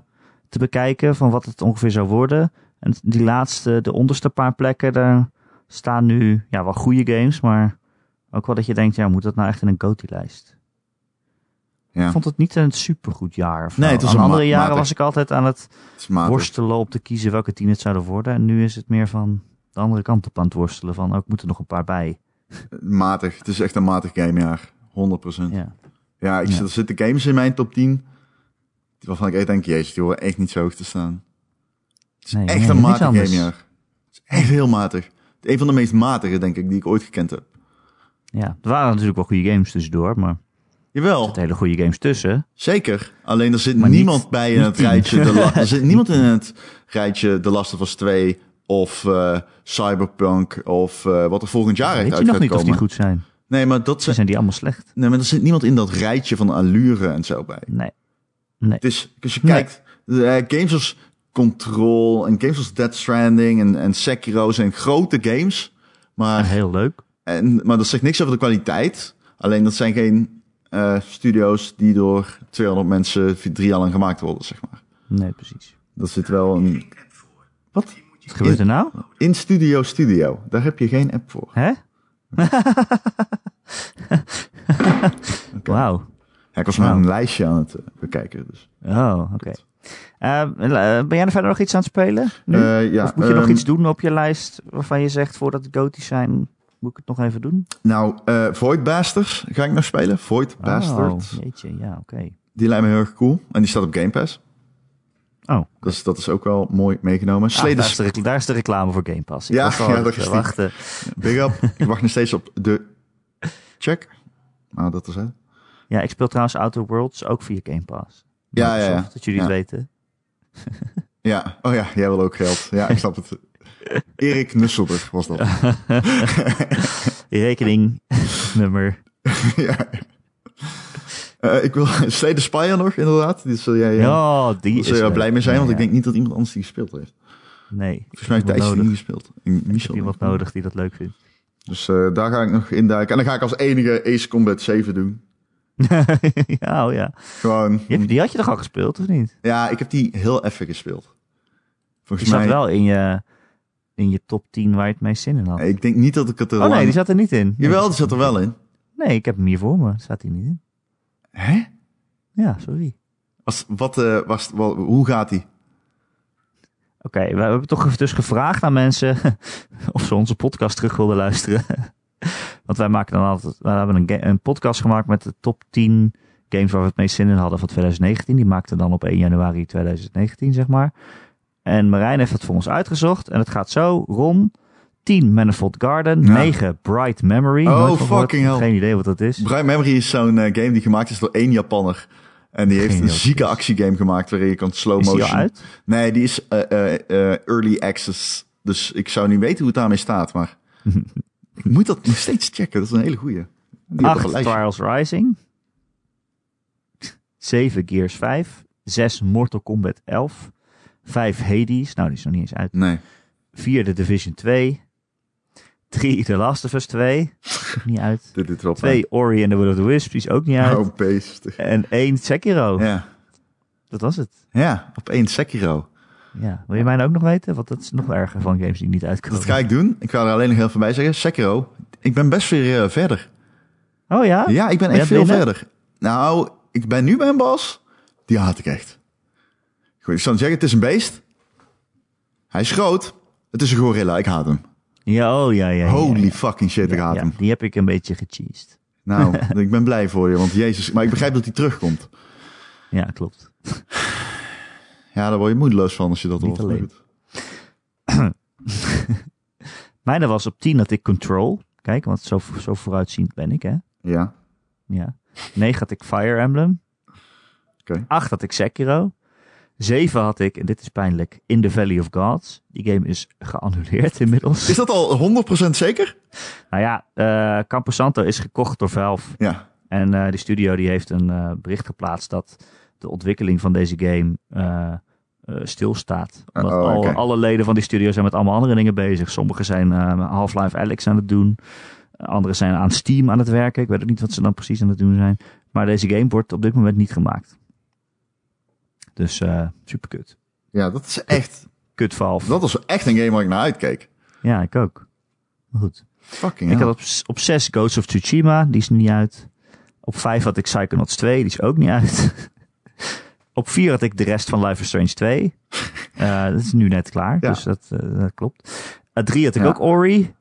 te bekijken van wat het ongeveer zou worden. En die laatste, de onderste paar plekken, daar staan nu ja, wel goede games. Maar ook wel dat je denkt, ja, moet dat nou echt in een GOTY-lijst?
Ja.
Ik vond het niet een supergoed jaar. of
Nee,
zo.
het was
Aan
een
andere
ma-
jaren
matig.
was ik altijd aan het
Het is matig.
worstelen om te kiezen welke tien het zouden worden. En nu is het meer van de andere kant op aan het worstelen. Van, oh, ik moet er nog een paar bij.
Matig. Het is echt een matig gamejaar. 100%. Ja,
Ja.
ik
Ja.
Zit, er zitten games in mijn top 10. Waarvan ik echt denk, jezus, die horen echt niet zo hoog te staan. Het is
Nee,
echt
nee,
een
niks
matig
anders.
gamejaar. Het is echt heel matig. Een van de meest matige, denk ik, die ik ooit gekend heb.
ja, er waren natuurlijk wel goede games tussendoor, maar...
Jawel,
hele goede games tussen.
zeker. Alleen er zit
Maar niet-
niemand bij in het rijtje. De
<laughs>
La- er zit niemand in het rijtje The Last of Us 2 of eh, Cyberpunk of eh, wat er volgend jaar echt
Weet je
uit
nog
gaat
niet of die
komen.
goed zijn?
Nee, maar dat
Ze
zijn,
zijn die allemaal slecht.
nee, maar er zit niemand in dat rijtje van allure en zo bij.
Nee.
Het is, Dus als je
Nee.
kijkt, de, eh, games als Control en games als Dead Stranding en, en Sekiro zijn grote games. Maar <laughs>
Heel leuk.
en, maar dat zegt niks over de kwaliteit. Alleen dat zijn geen eh, studio's die door 200 mensen vier- drie jaar lang gemaakt worden, zeg maar.
Nee, precies.
Dat zit wel een... Wat?
Wat gebeurt er nou?
In Studio Studio. Daar heb je geen app voor.
Hè? <laughs> Wauw.
Ja, ik was maar een lijstje aan het eh, bekijken. Dus.
Oh, oké. Ehm, eh, ben jij er verder nog iets aan het spelen? Nu?
Eh, ja,
of moet je nog
ehm,
iets doen op je lijst waarvan je zegt voordat het goties zijn, moet ik het nog even doen?
Nou, eh Void Bastards ga ik nog spelen. Void Bastards.
Oh, jeetje, ja, oké.
Die lijkt me heel erg cool. En die staat op Game Pass.
Oh.
Dus dat is ook wel mooi meegenomen.
Ah, daar, is
Sleders
de, recl- daar is de reclame voor Game Pass. Ik
Ja,
was al
<laughs> ja,
aan
dat
het
is die.
wachten.
Big
<laughs>
up. Ik wacht nog steeds op de check. Maar dat is het.
Ja, ik speel trouwens Outer Worlds ook via Game Pass.
Ja, ja, ja.
Microsoft, Dat jullie het
Ja.
weten.
Ja, oh ja, jij wil ook geld. Ja, ik
<laughs>
snap het. Erik Nusselberg was dat. Ja. <laughs>
Rekening <laughs> nummer.
Eh, ik wil Slay the Spire nog, inderdaad. Die zul jij, eh,
Ja, die
daar
is
zul jij
leuk.
blij mee zijn,
Ja,
want ik
ja.
denk niet dat iemand anders die gespeeld heeft.
Nee,
Volgens mij heeft
iemand
Thijs die
nodig.
niet gespeeld. En
Ik heb
Michel.
iemand nodig die dat leuk vindt. <laughs>
Dus eh, daar ga ik nog induiken. En dan ga ik als enige Ace Combat 7 doen.
ja, oh ja.
Gewoon.
Die heb- die had je toch al gespeeld, of niet?
Ja, ik heb die heel even gespeeld.
Die
Volgens
zat
mij.
wel in je, in je top 10 waar je het meest zin in had.
Ik denk niet dat ik het er
oh nee,
lang-
die zat er niet in. Nee,
Jawel, die zat er wel in.
Nee, ik heb hem hier voor me. Staat hij niet in.
Hè?
Ja, sorry.
Was, wat, eh, was, wel- hoe gaat die?
Oké, we hebben toch dus gevraagd aan mensen <laughs> of ze onze podcast terug wilden luisteren. <laughs> Want wij maken dan altijd, we hebben een, ga- een podcast gemaakt met de top 10 games waar we het meest zin in hadden van 2019. Die maakten dan op 1 januari 2019, zeg maar. En Marijn heeft het voor ons uitgezocht. En het gaat zo, Ron, 10 Manifold Garden,
Ja.
9 Bright Memory.
Oh,
Nooit van gehoord.
fucking hell.
Geen idee wat dat is.
Bright Memory is zo'n eh, game die gemaakt is door één Japanner. En die heeft
Geen
een
idee wat
zieke
het is.
actiegame gemaakt waarin je kan slow
Is die
motion.
al uit?
Nee, die is eh, eh, eh, early access. Dus ik zou niet weten hoe het daarmee staat, maar ik moet dat nog steeds checken. Dat is een hele goeie. Die heb ik op een
8
lijstje.
Trials Rising. <laughs> 7 Gears 5. 6 Mortal Kombat 11. 5 Hades. Nou, die is nog niet eens uit.
Nee.
4 The Division 2. 3 The Last of Us 2. Ook niet
<laughs>
uit.
Dit is wel
2 Ori and the Will of the Wisps. Die is ook niet
pijn.
uit.
Oh, beest.
En 1 Sekiro.
Ja.
Dat was het.
ja, op één Sekiro.
Ja. Wil je mij nou ook nog weten? Want dat is nog erger van games die niet uitkomen.
Dat ga ik doen. Ik ga er alleen nog heel veel bij zeggen. Sekiro, ik ben best weer eh, verder.
Oh ja?
Ja, ik ben
Ben
echt
je
veel
binnen?
verder. Nou, ik ben nu bij een bas. Die haat ik echt. Goed, ik zou zeggen, het is een beest. Hij is groot. Het is een gorilla. Ik haat hem.
Ja, oh ja, ja. ja,
Holy
ja.
fucking shit, ik haat
Ja,
hem.
die heb ik een beetje gecheesed. <laughs>
Nou, ik ben blij voor je, want jezus. Maar ik begrijp dat hij terugkomt.
Ja, klopt.
Ja, daar word je moedeloos van als je dat
Niet
hoort. maar
alleen.
goed.
Mijne was op 10 dat ik Control. Kijk, want zo, zo vooruitziend ben ik, hè.
Ja,
Ja. 9 had ik Fire Emblem.
Oké.
8 had ik Sekiro. 7 had ik, en dit is pijnlijk, In the Valley of Gods. Die game is geannuleerd <laughs> inmiddels.
is dat al 100% zeker?
Nou ja, eh Campo Santo is gekocht door Valve.
Ja.
En eh die studio die heeft een eh, bericht geplaatst dat de ontwikkeling van deze game eh, eh, stilstaat. Omdat
Oh,
al-
oké.
alle leden van die studio zijn met allemaal andere dingen bezig. Sommigen zijn eh, Half-Life Alex aan het doen. Anderen zijn aan Steam aan het werken. Ik weet ook niet wat ze dan precies aan het doen zijn. Maar deze game wordt op dit moment niet gemaakt. Dus eh super kut.
Ja, dat is echt.
Kut Valve.
Dat was echt een game waar ik naar uitkeek.
Ja, ik ook. Maar goed.
Fucking
Ik
hell.
had op, s- op 6 Ghost of Tsushima, die is niet uit. Op 5 had ik Psychonauts 2, die is ook niet uit. <laughs> op 4 had ik de rest van Life is Strange
<laughs>
2. Eh, dat is nu net klaar,
Ja.
dus dat, eh, dat klopt. 3 had ik
Ja.
ook Ori,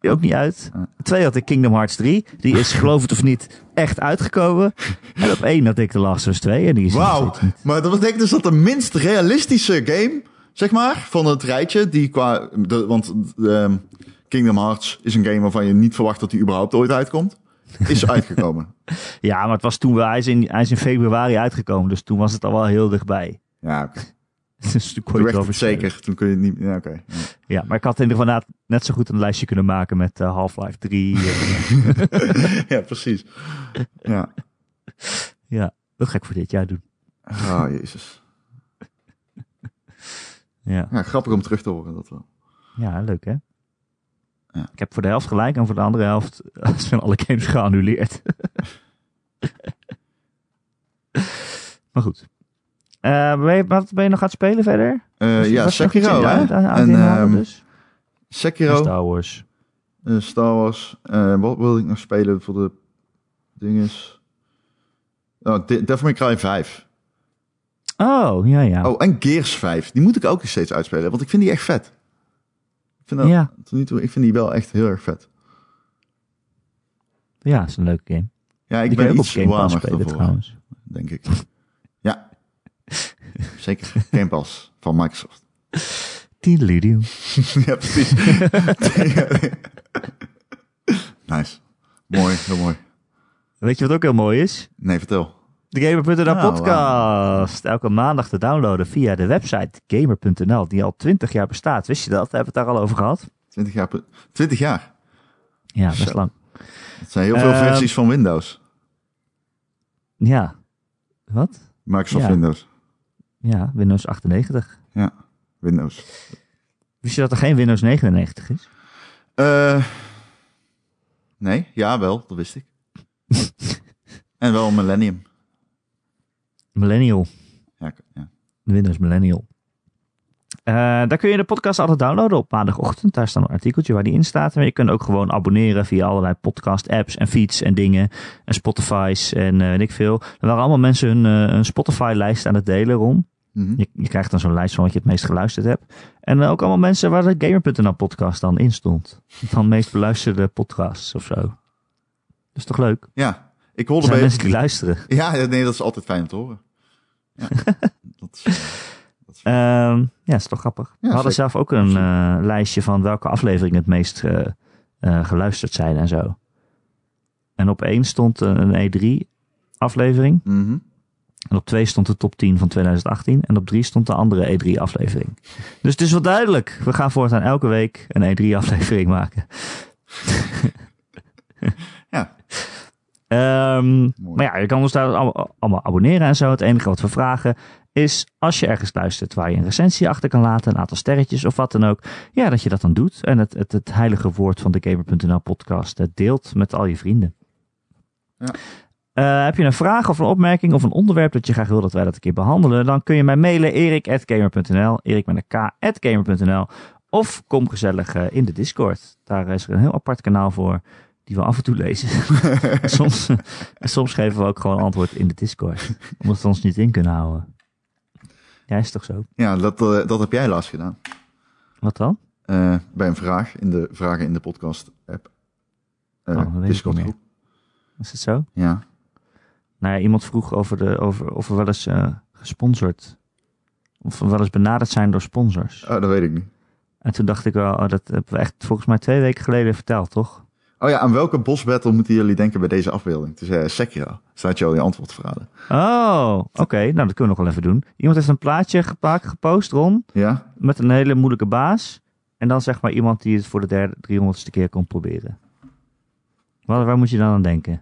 die ook niet uit. 2 had ik Kingdom Hearts 3, die is geloof het of niet echt uitgekomen. En op 1 had ik The Last of Us 2 en die is nog
Wauw,
steeds niet.
maar dat betekent dus dat de minst realistische game, zeg maar, van het rijtje, die qua. De, want ehm, Kingdom Hearts is een game waarvan je niet verwacht dat die überhaupt ooit uitkomt, is uitgekomen.
Ja, maar het was toen, wel- hij is, in, hij is in februari uitgekomen, dus toen was het al wel heel dichtbij. <laughs>
ja, oké.
Dus toen kon je
toen
het
werd
wel
het
voorspellen.
zeker. Toen kun je het niet. Ja, oké. Ja.
Ja, maar ik had in ieder geval na- net zo goed een lijstje kunnen maken met eh, Half-Life 3.
<laughs>
eh,
ja, precies. Ja.
ja, dat ga ik voor dit jaar doen.
Ah, jezus.
Ja.
Ja, grappig om terug te horen dat wel.
ja, leuk hè?
Ja.
Ik heb voor de helft gelijk en voor de andere helft <laughs> zijn alle games geannuleerd. <laughs> maar goed. Eh, ben je- wat ben je nog aan het spelen verder?
Eh,
Was-
ja,
was echt
Sekiro,
iets
hè?
uit- uit- uit
En
in handen
ehm,
dus? En
Sekiro,
Star Wars.
eh, Star Wars. eh, wat wilde ik nog spelen voor de dinges? Oh, De- Devil May Cry 5.
Oh, ja, ja.
Oh, en Gears 5. Die moet ik ook nog steeds uitspelen, want ik vind die echt vet. Ik vind, dat,
Ja.
tot nu toe, ik vind die wel echt heel erg vet.
Ja, is een leuke game.
Ja, ik
Die kun je
ben
ook op
iets
Game Pass
warmer
spelen
ervoor,
trouwens.
denk ik.
<laughs>
Ja, zeker. Game Pass van Microsoft. <laughs>
Tiedelidio.
ja,
<laughs>
precies. nice. Mooi, heel mooi.
Weet je wat ook heel mooi is?
Nee, vertel.
De Gamer.nl
Oh,
podcast. Elke maandag te downloaden via de website gamer.nl, die al 20 jaar bestaat. Wist je dat? Hebben we het daar al over gehad?
20 jaar. pe- 20 jaar.
Ja, best
Zo.
lang.
Dat zijn heel veel
Ehm,
versies van Windows.
Ja. Wat?
Microsoft
ja.
Windows.
Ja, Windows 98.
Ja, Windows.
Wist je dat er geen Windows 99 is?
Eh, nee, ja wel, dat
<laughs>
wist ik. en wel Millennium.
Millennial.
Ja, ik- ja.
Windows Millennial. Eh, daar kun je de podcast altijd downloaden op maandagochtend. Daar staat een artikeltje waar die in staat. Maar je kunt ook gewoon abonneren via allerlei podcast-apps en feeds en dingen. En Spotify's en eh weet ik veel. Er waren allemaal mensen hun, eh, hun Spotify-lijst aan het delen rond.
Mhm.
Je, je krijgt dan zo'n lijst van wat je het meest geluisterd hebt. En eh, ook allemaal mensen waar de Gamer.nl-podcast dan in stond. Van meest beluisterde podcasts of zo. Dat is toch leuk? Er
ja, ik hoorde
zijn
bij...
mensen die luisteren.
Ja, nee, dat is altijd fijn om te horen.
<laughs>
Ja, dat is, eh, dat is-
Ehm, ja, is toch grappig. We hadden
zeker.
zelf ook een eh, lijstje van welke afleveringen het meest eh, eh, geluisterd zijn en zo. En op één stond een, E E3-aflevering.
Mhm.
En op twee stond de top 10 van 2018. En op drie stond de andere E3-aflevering. Dus het is wel duidelijk. We gaan voortaan elke week een E3-aflevering maken.
Ja.
Ehm, maar ja, je kan ons daar al- allemaal abonneren en zo. Het enige wat we vragen is, als je ergens luistert waar je een recensie achter kan laten, een aantal sterretjes of wat dan ook, ja, dat je dat dan doet. En het, het, het heilige woord van de Gamer.nl podcast eh, deelt met al je vrienden.
Ja.
Eh, heb je een vraag of een opmerking of een onderwerp dat je graag wil dat wij dat een keer behandelen, dan kun je mij mailen erik.gamer.nl, erik met een k.gamer.nl of kom gezellig eh, in de Discord. Daar is er een heel apart kanaal voor die we af en toe lezen. soms, soms geven we ook gewoon antwoord in de Discord, omdat we ons niet in kunnen houden. Ja, is toch zo?
ja dat, eh, dat heb jij laatst gedaan.
Wat dan?
Eh, bij een vraag in de vragen in de podcast app. Eh,
Oh, dat weet ik niet
Discord groep.
Is het zo?
Ja.
Nou ja, iemand vroeg over, de, over of we wel eens eh, gesponsord. Of we wel eens benaderd zijn door sponsors.
Oh, dat weet ik niet.
En toen dacht ik wel, oh, dat hebben we echt volgens mij twee weken geleden verteld, toch?
Oh ja, aan welke bosbattle moeten jullie denken bij deze afbeelding? Het is eh, Sekiro. Staat je al je antwoord te verraden.
Oh, oké. Nou, dat kunnen we nog wel even doen. Iemand heeft een plaatje gepa- gepost, Ron.
Ja?
met een hele moeilijke baas. En dan zeg maar iemand die het voor de derde, 300ste keer komt proberen. Waar, waar moet je dan aan denken?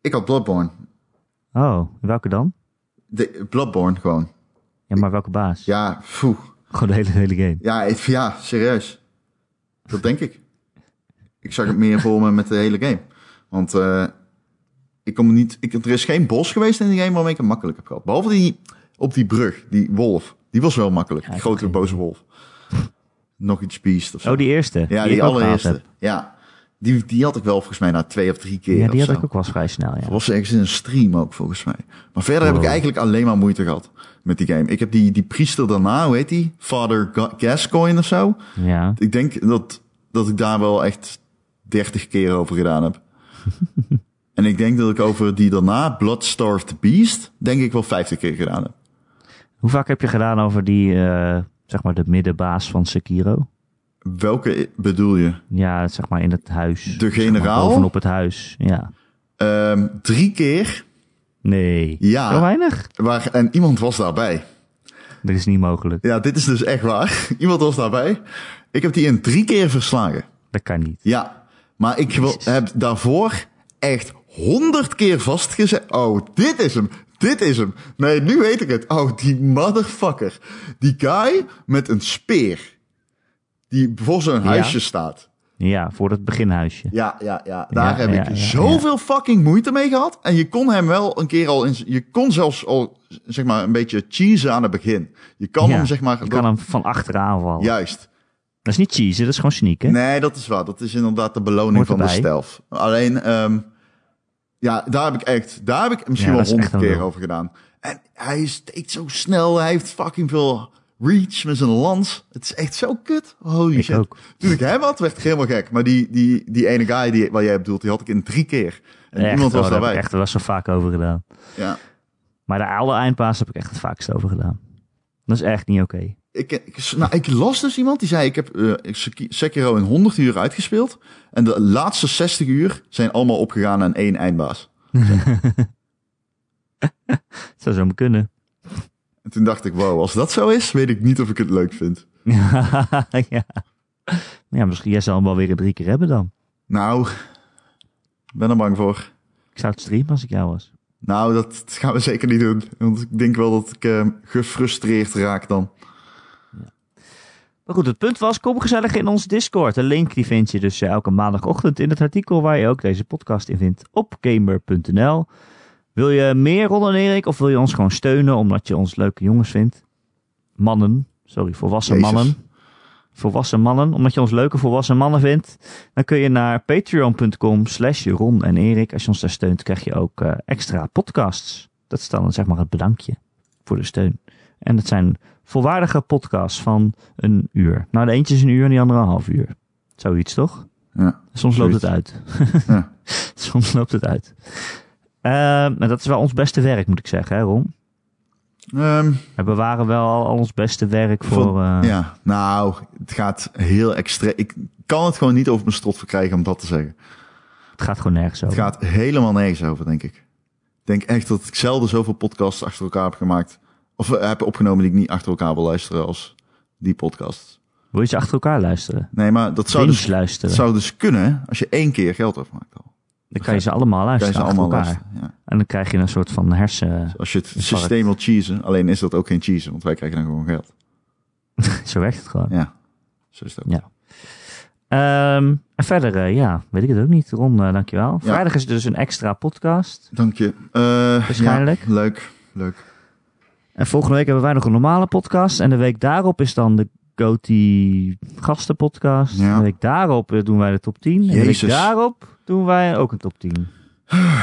Ik had Bloodborne.
Oh, welke dan?
De, Bloodborne gewoon.
Ja, maar welke baas?
Ja, phew.
Gewoon de hele, hele game.
Ja, ik- ja, serieus. Dat denk ik. Ik zag het meer voor me met de hele game. Want eh, ik kom niet, ik, er is geen bos geweest in die game waarmee ik het makkelijk heb gehad. Behalve die, op die brug, die wolf. Die was wel makkelijk.
Ja,
die grote
oké.
boze wolf. Nog iets beest of zo.
Oh, die eerste.
ja, die,
ik ook gehad
allereerste.
heb.
Ja, die, die had ik wel volgens mij na twee of drie keer.
Ja, die
of
had
zo.
ik ook wel eens vrij snel, ja.
Dat was ergens in een stream ook, volgens mij. Maar verder heb ik
Wow.
eigenlijk alleen maar moeite gehad met die game. Ik heb die, die priester daarna, hoe heet die? Father Ga- Gascoigne of zo.
Ja,
Ik denk dat, dat ik daar wel echt 30 keer over gedaan
<laughs>
heb. en ik denk dat ik over die daarna, Bloodstarved Beast, denk ik wel 50 keer gedaan heb.
Hoe vaak heb je gedaan over die, eh, zeg maar, de middenbaas van Sekiro?
Welke i- bedoel je?
Ja, zeg maar in het huis. Zeg maar
generaal?
bovenop het huis, ja.
Ehm, drie keer,
Nee.
Ja.
Zo weinig?
waar, en iemand was daarbij.
Dat is niet mogelijk.
Ja, dit is dus echt waar. <laughs> iemand was daarbij. Ik heb die in drie keer verslagen.
Dat kan niet.
Ja, maar ik wil, heb daarvoor echt honderd keer vastgezet. Oh, dit is hem. Dit is hem. Nee, nu weet ik het. Oh, die motherfucker. Die guy met een speer. Die voor zijn huisje staat.
Ja, voor het beginhuisje.
Ja, ja, ja. Daar
Ja,
heb
ja,
ik
ja,
zoveel fucking moeite mee gehad. En je kon hem wel een keer al in. Je kon zelfs al, zeg maar, een beetje cheesen aan het begin. Je kan
Ja,
hem, zeg maar.
Je
dat-
kan hem van achteraan vallen.
Juist.
Dat is niet cheese, dat is gewoon sneaken.
Nee, dat is waar. Dat is inderdaad de beloning
Hoort
van de
erbij.
stelf. Alleen, ehm, ja, daar heb ik echt, daar heb ik misschien
Ja,
wel
dat is echt
honderd
een
keer
lul.
over gedaan. En hij steekt zo snel, hij heeft fucking veel reach met zijn lans. Het is echt zo kut. Holy
Ik
shit.
ook.
Toen ik hem had, werd ik helemaal gek. Maar die, die, die ene guy die, waar jij bedoelt, die had ik in drie keer. En
Echt,
niemand
oh, daar
was daarbij.
heb ik echt wel zo vaak over gedaan.
Ja.
Maar de oude eindpaas heb ik echt het vaakst over gedaan. Dat is echt niet oké.
Ik, ik, nou, ik las dus iemand die zei: Ik heb eh, ik Sek- Sekiro in 100 uur uitgespeeld. En de laatste 60 uur zijn allemaal opgegaan aan één eindbaas.
Het zou zo maar kunnen. <laughs>
En toen dacht ik, wow, als dat zo is, weet ik niet of ik het leuk vind.
ja. ja, misschien jij zal hem wel weer drie keer hebben dan.
Nou, ik ben er bang voor.
Ik zou het streamen als ik jou was.
Nou, dat gaan we zeker niet doen. Want ik denk wel dat ik eh, gefrustreerd raak dan.
Maar goed, het punt was, kom gezellig in ons Discord. De link die vind je dus eh, elke maandagochtend in het artikel waar je ook deze podcast in vindt op gamer.nl. Wil je meer Ron en Erik of wil je ons gewoon steunen omdat je ons leuke jongens vindt? Mannen, sorry, volwassen
Jezus.
mannen. Volwassen mannen, omdat je ons leuke volwassen mannen vindt. Dan kun je naar patreon.com slash Ron en Erik. Als je ons daar steunt, krijg je ook eh, extra podcasts. Dat is dan zeg maar het bedankje voor de steun. En dat zijn volwaardige podcasts van een uur. Nou, de eentje is een uur en die andere een half uur. Zoiets toch?
Ja.
Soms loopt het uit.
Ja.
<laughs> Soms loopt het uit. Ehm, maar dat is wel ons beste werk, moet ik zeggen, hè, Ron?
Ehm,
We bewaren wel al, al ons beste werk voor...
Voor-
eh,
ja, nou, het gaat heel extreem. Ik kan het gewoon niet over mijn strot verkrijgen om dat te zeggen.
Het gaat gewoon nergens
Het
over.
gaat helemaal nergens over, denk ik. Ik denk echt dat ik zelden zoveel podcasts achter elkaar heb gemaakt. Of eh, heb opgenomen die ik niet achter elkaar wil luisteren als die podcast.
Wil je ze achter elkaar luisteren?
Nee, maar dat zou,
Zou
dus, dat
luisteren.
zou dus kunnen als je één keer geld afmaakt al.
Dan kan je ze allemaal
Kan je
luisteren
ze
achter
allemaal
elkaar.
luisteren. Ja.
En dan krijg je een soort van hersen... <laughs>
Als je het
is
systeem wil cheesen, alleen is dat ook geen cheesen, want wij krijgen dan gewoon geld.
Zo werkt het gewoon.
Ja, zo is dat.
Ja. Ehm, en verder, eh, ja, weet ik het ook niet. Ron, eh, dankjewel. Vrijdag is dus een extra podcast.
Dank je. Eh,
Waarschijnlijk.
ja, leuk, leuk.
En volgende week hebben wij nog een normale podcast. En de week daarop is dan de Goti gasten podcast.
Ja.
De week daarop eh, doen wij de top 10. En de
Jezus.
week daarop doen wij ook een top 10.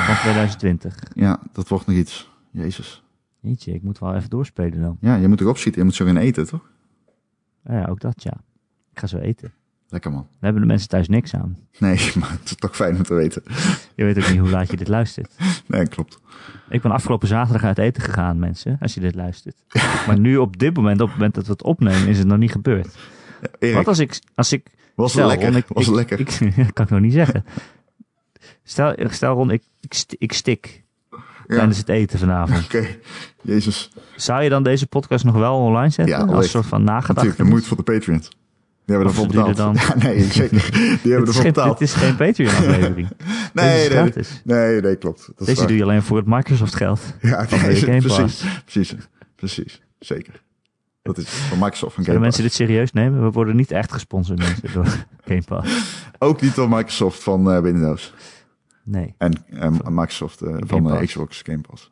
Van 2020.
Ja, dat wordt nog iets. Jezus.
Jeetje, ik moet wel even doorspelen dan.
Ja, je moet erop zitten, je moet zo gaan eten, toch?
Ah ja, ook dat ja. Ik ga zo eten.
Lekker man.
Daar hebben de mensen thuis niks aan.
Nee, <laughs> maar het is toch fijn om te weten.
Je weet ook niet hoe laat je dit luistert.
Nee, klopt.
Ik ben afgelopen zaterdag uit eten gegaan, mensen, als je dit luistert. Maar nu op dit moment, op het moment dat we het opnemen, is het nog niet gebeurd.
Erik,
Wat als ik... Als ik
was het
stel,
lekker?
Ron, ik,
was het
ik-
lekker?
ik- <laughs> dat kan ik nog niet zeggen. Stel, stel Ron, ik, ik, st- ik stik
ja,
tijdens het eten
<laughs>
vanavond.
oké. Jezus.
Zou je dan deze podcast nog wel online zetten?
Ja,
als
alweer.
soort van nagedachte.
Natuurlijk, dat moet voor de Patreons. Die hebben
Of
ervoor
ze
betaald.
duurder
<laughs> Ja, nee, zeker.
<laughs> Het is
Die hebben ervoor
geen,
betaald.
dit is geen
<laughs>
Patreon-aflevering. Dit
Nee,
is
nee, nee,
gratis.
nee, nee, klopt. Dat is
Deze
waar.
doe je alleen voor het Microsoft-geld.
Ja,
Van
nee,
de Game Pass.
precies, <laughs> precies, precies, zeker. Dat is van Microsoft van Game
Kunnen mensen
Pass.
dit serieus nemen? We worden niet echt gesponsord mensen,
<laughs>
door Game Pass.
Ook niet door Microsoft van eh, Windows
Nee.
en eh, Microsoft eh, van
Game
eh,
Pass.
Xbox Game Pass.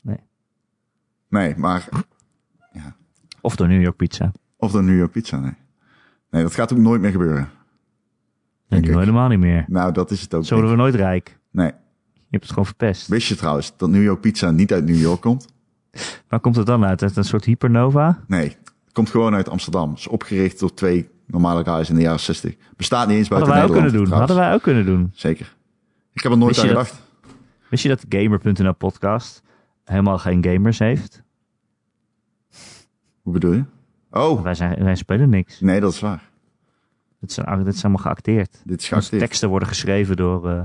Nee.
Nee, maar
Of door New York Pizza.
of dan New York Pizza, nee. Nee, dat gaat ook nooit meer gebeuren.
Nee,
Denk
nu
ik.
helemaal niet meer.
Nou, dat is het ook
Zo worden
niet.
we nooit rijk.
Nee.
Je hebt het gewoon verpest.
Wist je trouwens dat New York Pizza niet uit New York komt?
Waar komt het dan uit? Uit een soort hypernova?
Nee, het komt gewoon uit Amsterdam. is opgericht door twee normale guys in de jaren 60. Bestaat niet eens
Hadden
buiten
wij ook kunnen doen.
Nederland. trouwens.
Hadden wij ook kunnen doen.
Zeker. Ik heb er nooit
Wist
aan
je
gedacht.
Wist je dat de Gamer.nl podcast helemaal geen gamers heeft?
Hoe bedoel je? Oh,
Wij, zijn, wij spelen niks.
nee, dat is waar.
Dit zijn, dit is allemaal geacteerd.
Dit is
Onze
geacteerd.
teksten worden geschreven door... eh,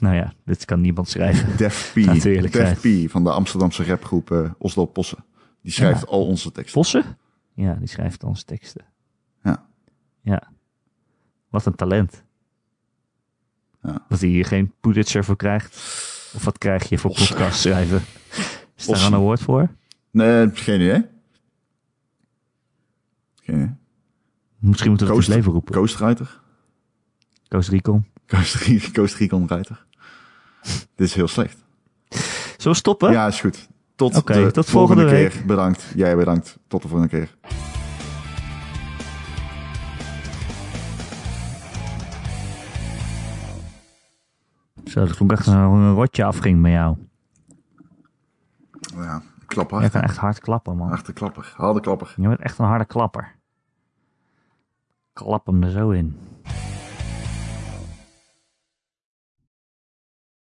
nou ja, dit kan niemand schrijven. <laughs>
Def P.
Laten we eerlijk
Def P van de Amsterdamse rapgroep eh Oslo Possen. Die schrijft
Ja.
al onze teksten.
Vossen? Ja, die schrijft onze teksten.
Ja.
Ja. Wat een talent.
Ja.
Dat hij hier geen Pulitzer voor krijgt. Of wat krijg je voor
Ossen.
podcast schrijven? Is daar
Ossen.
een woord voor?
Nee, geen idee. Geen idee.
Misschien moeten we het in
Coast-
het leven roepen.
Coast Rider?
Coast Recon.
Coast, <laughs> Ri- Coast Recon Rider? <laughs> Dit is heel slecht.
Zullen we stoppen?
Ja, is goed. Tot
Oké,
de
tot
volgende,
volgende
keer. Bedankt. Jij bedankt. Tot de volgende keer.
Zo, dat vond ik echt een, een rotje afging met jou.
Ja, klap
Jij
hard.
kan echt hard klappen, man.
Harde klapper. Harde klapper.
Je bent echt een harde klapper. Klap hem er zo in.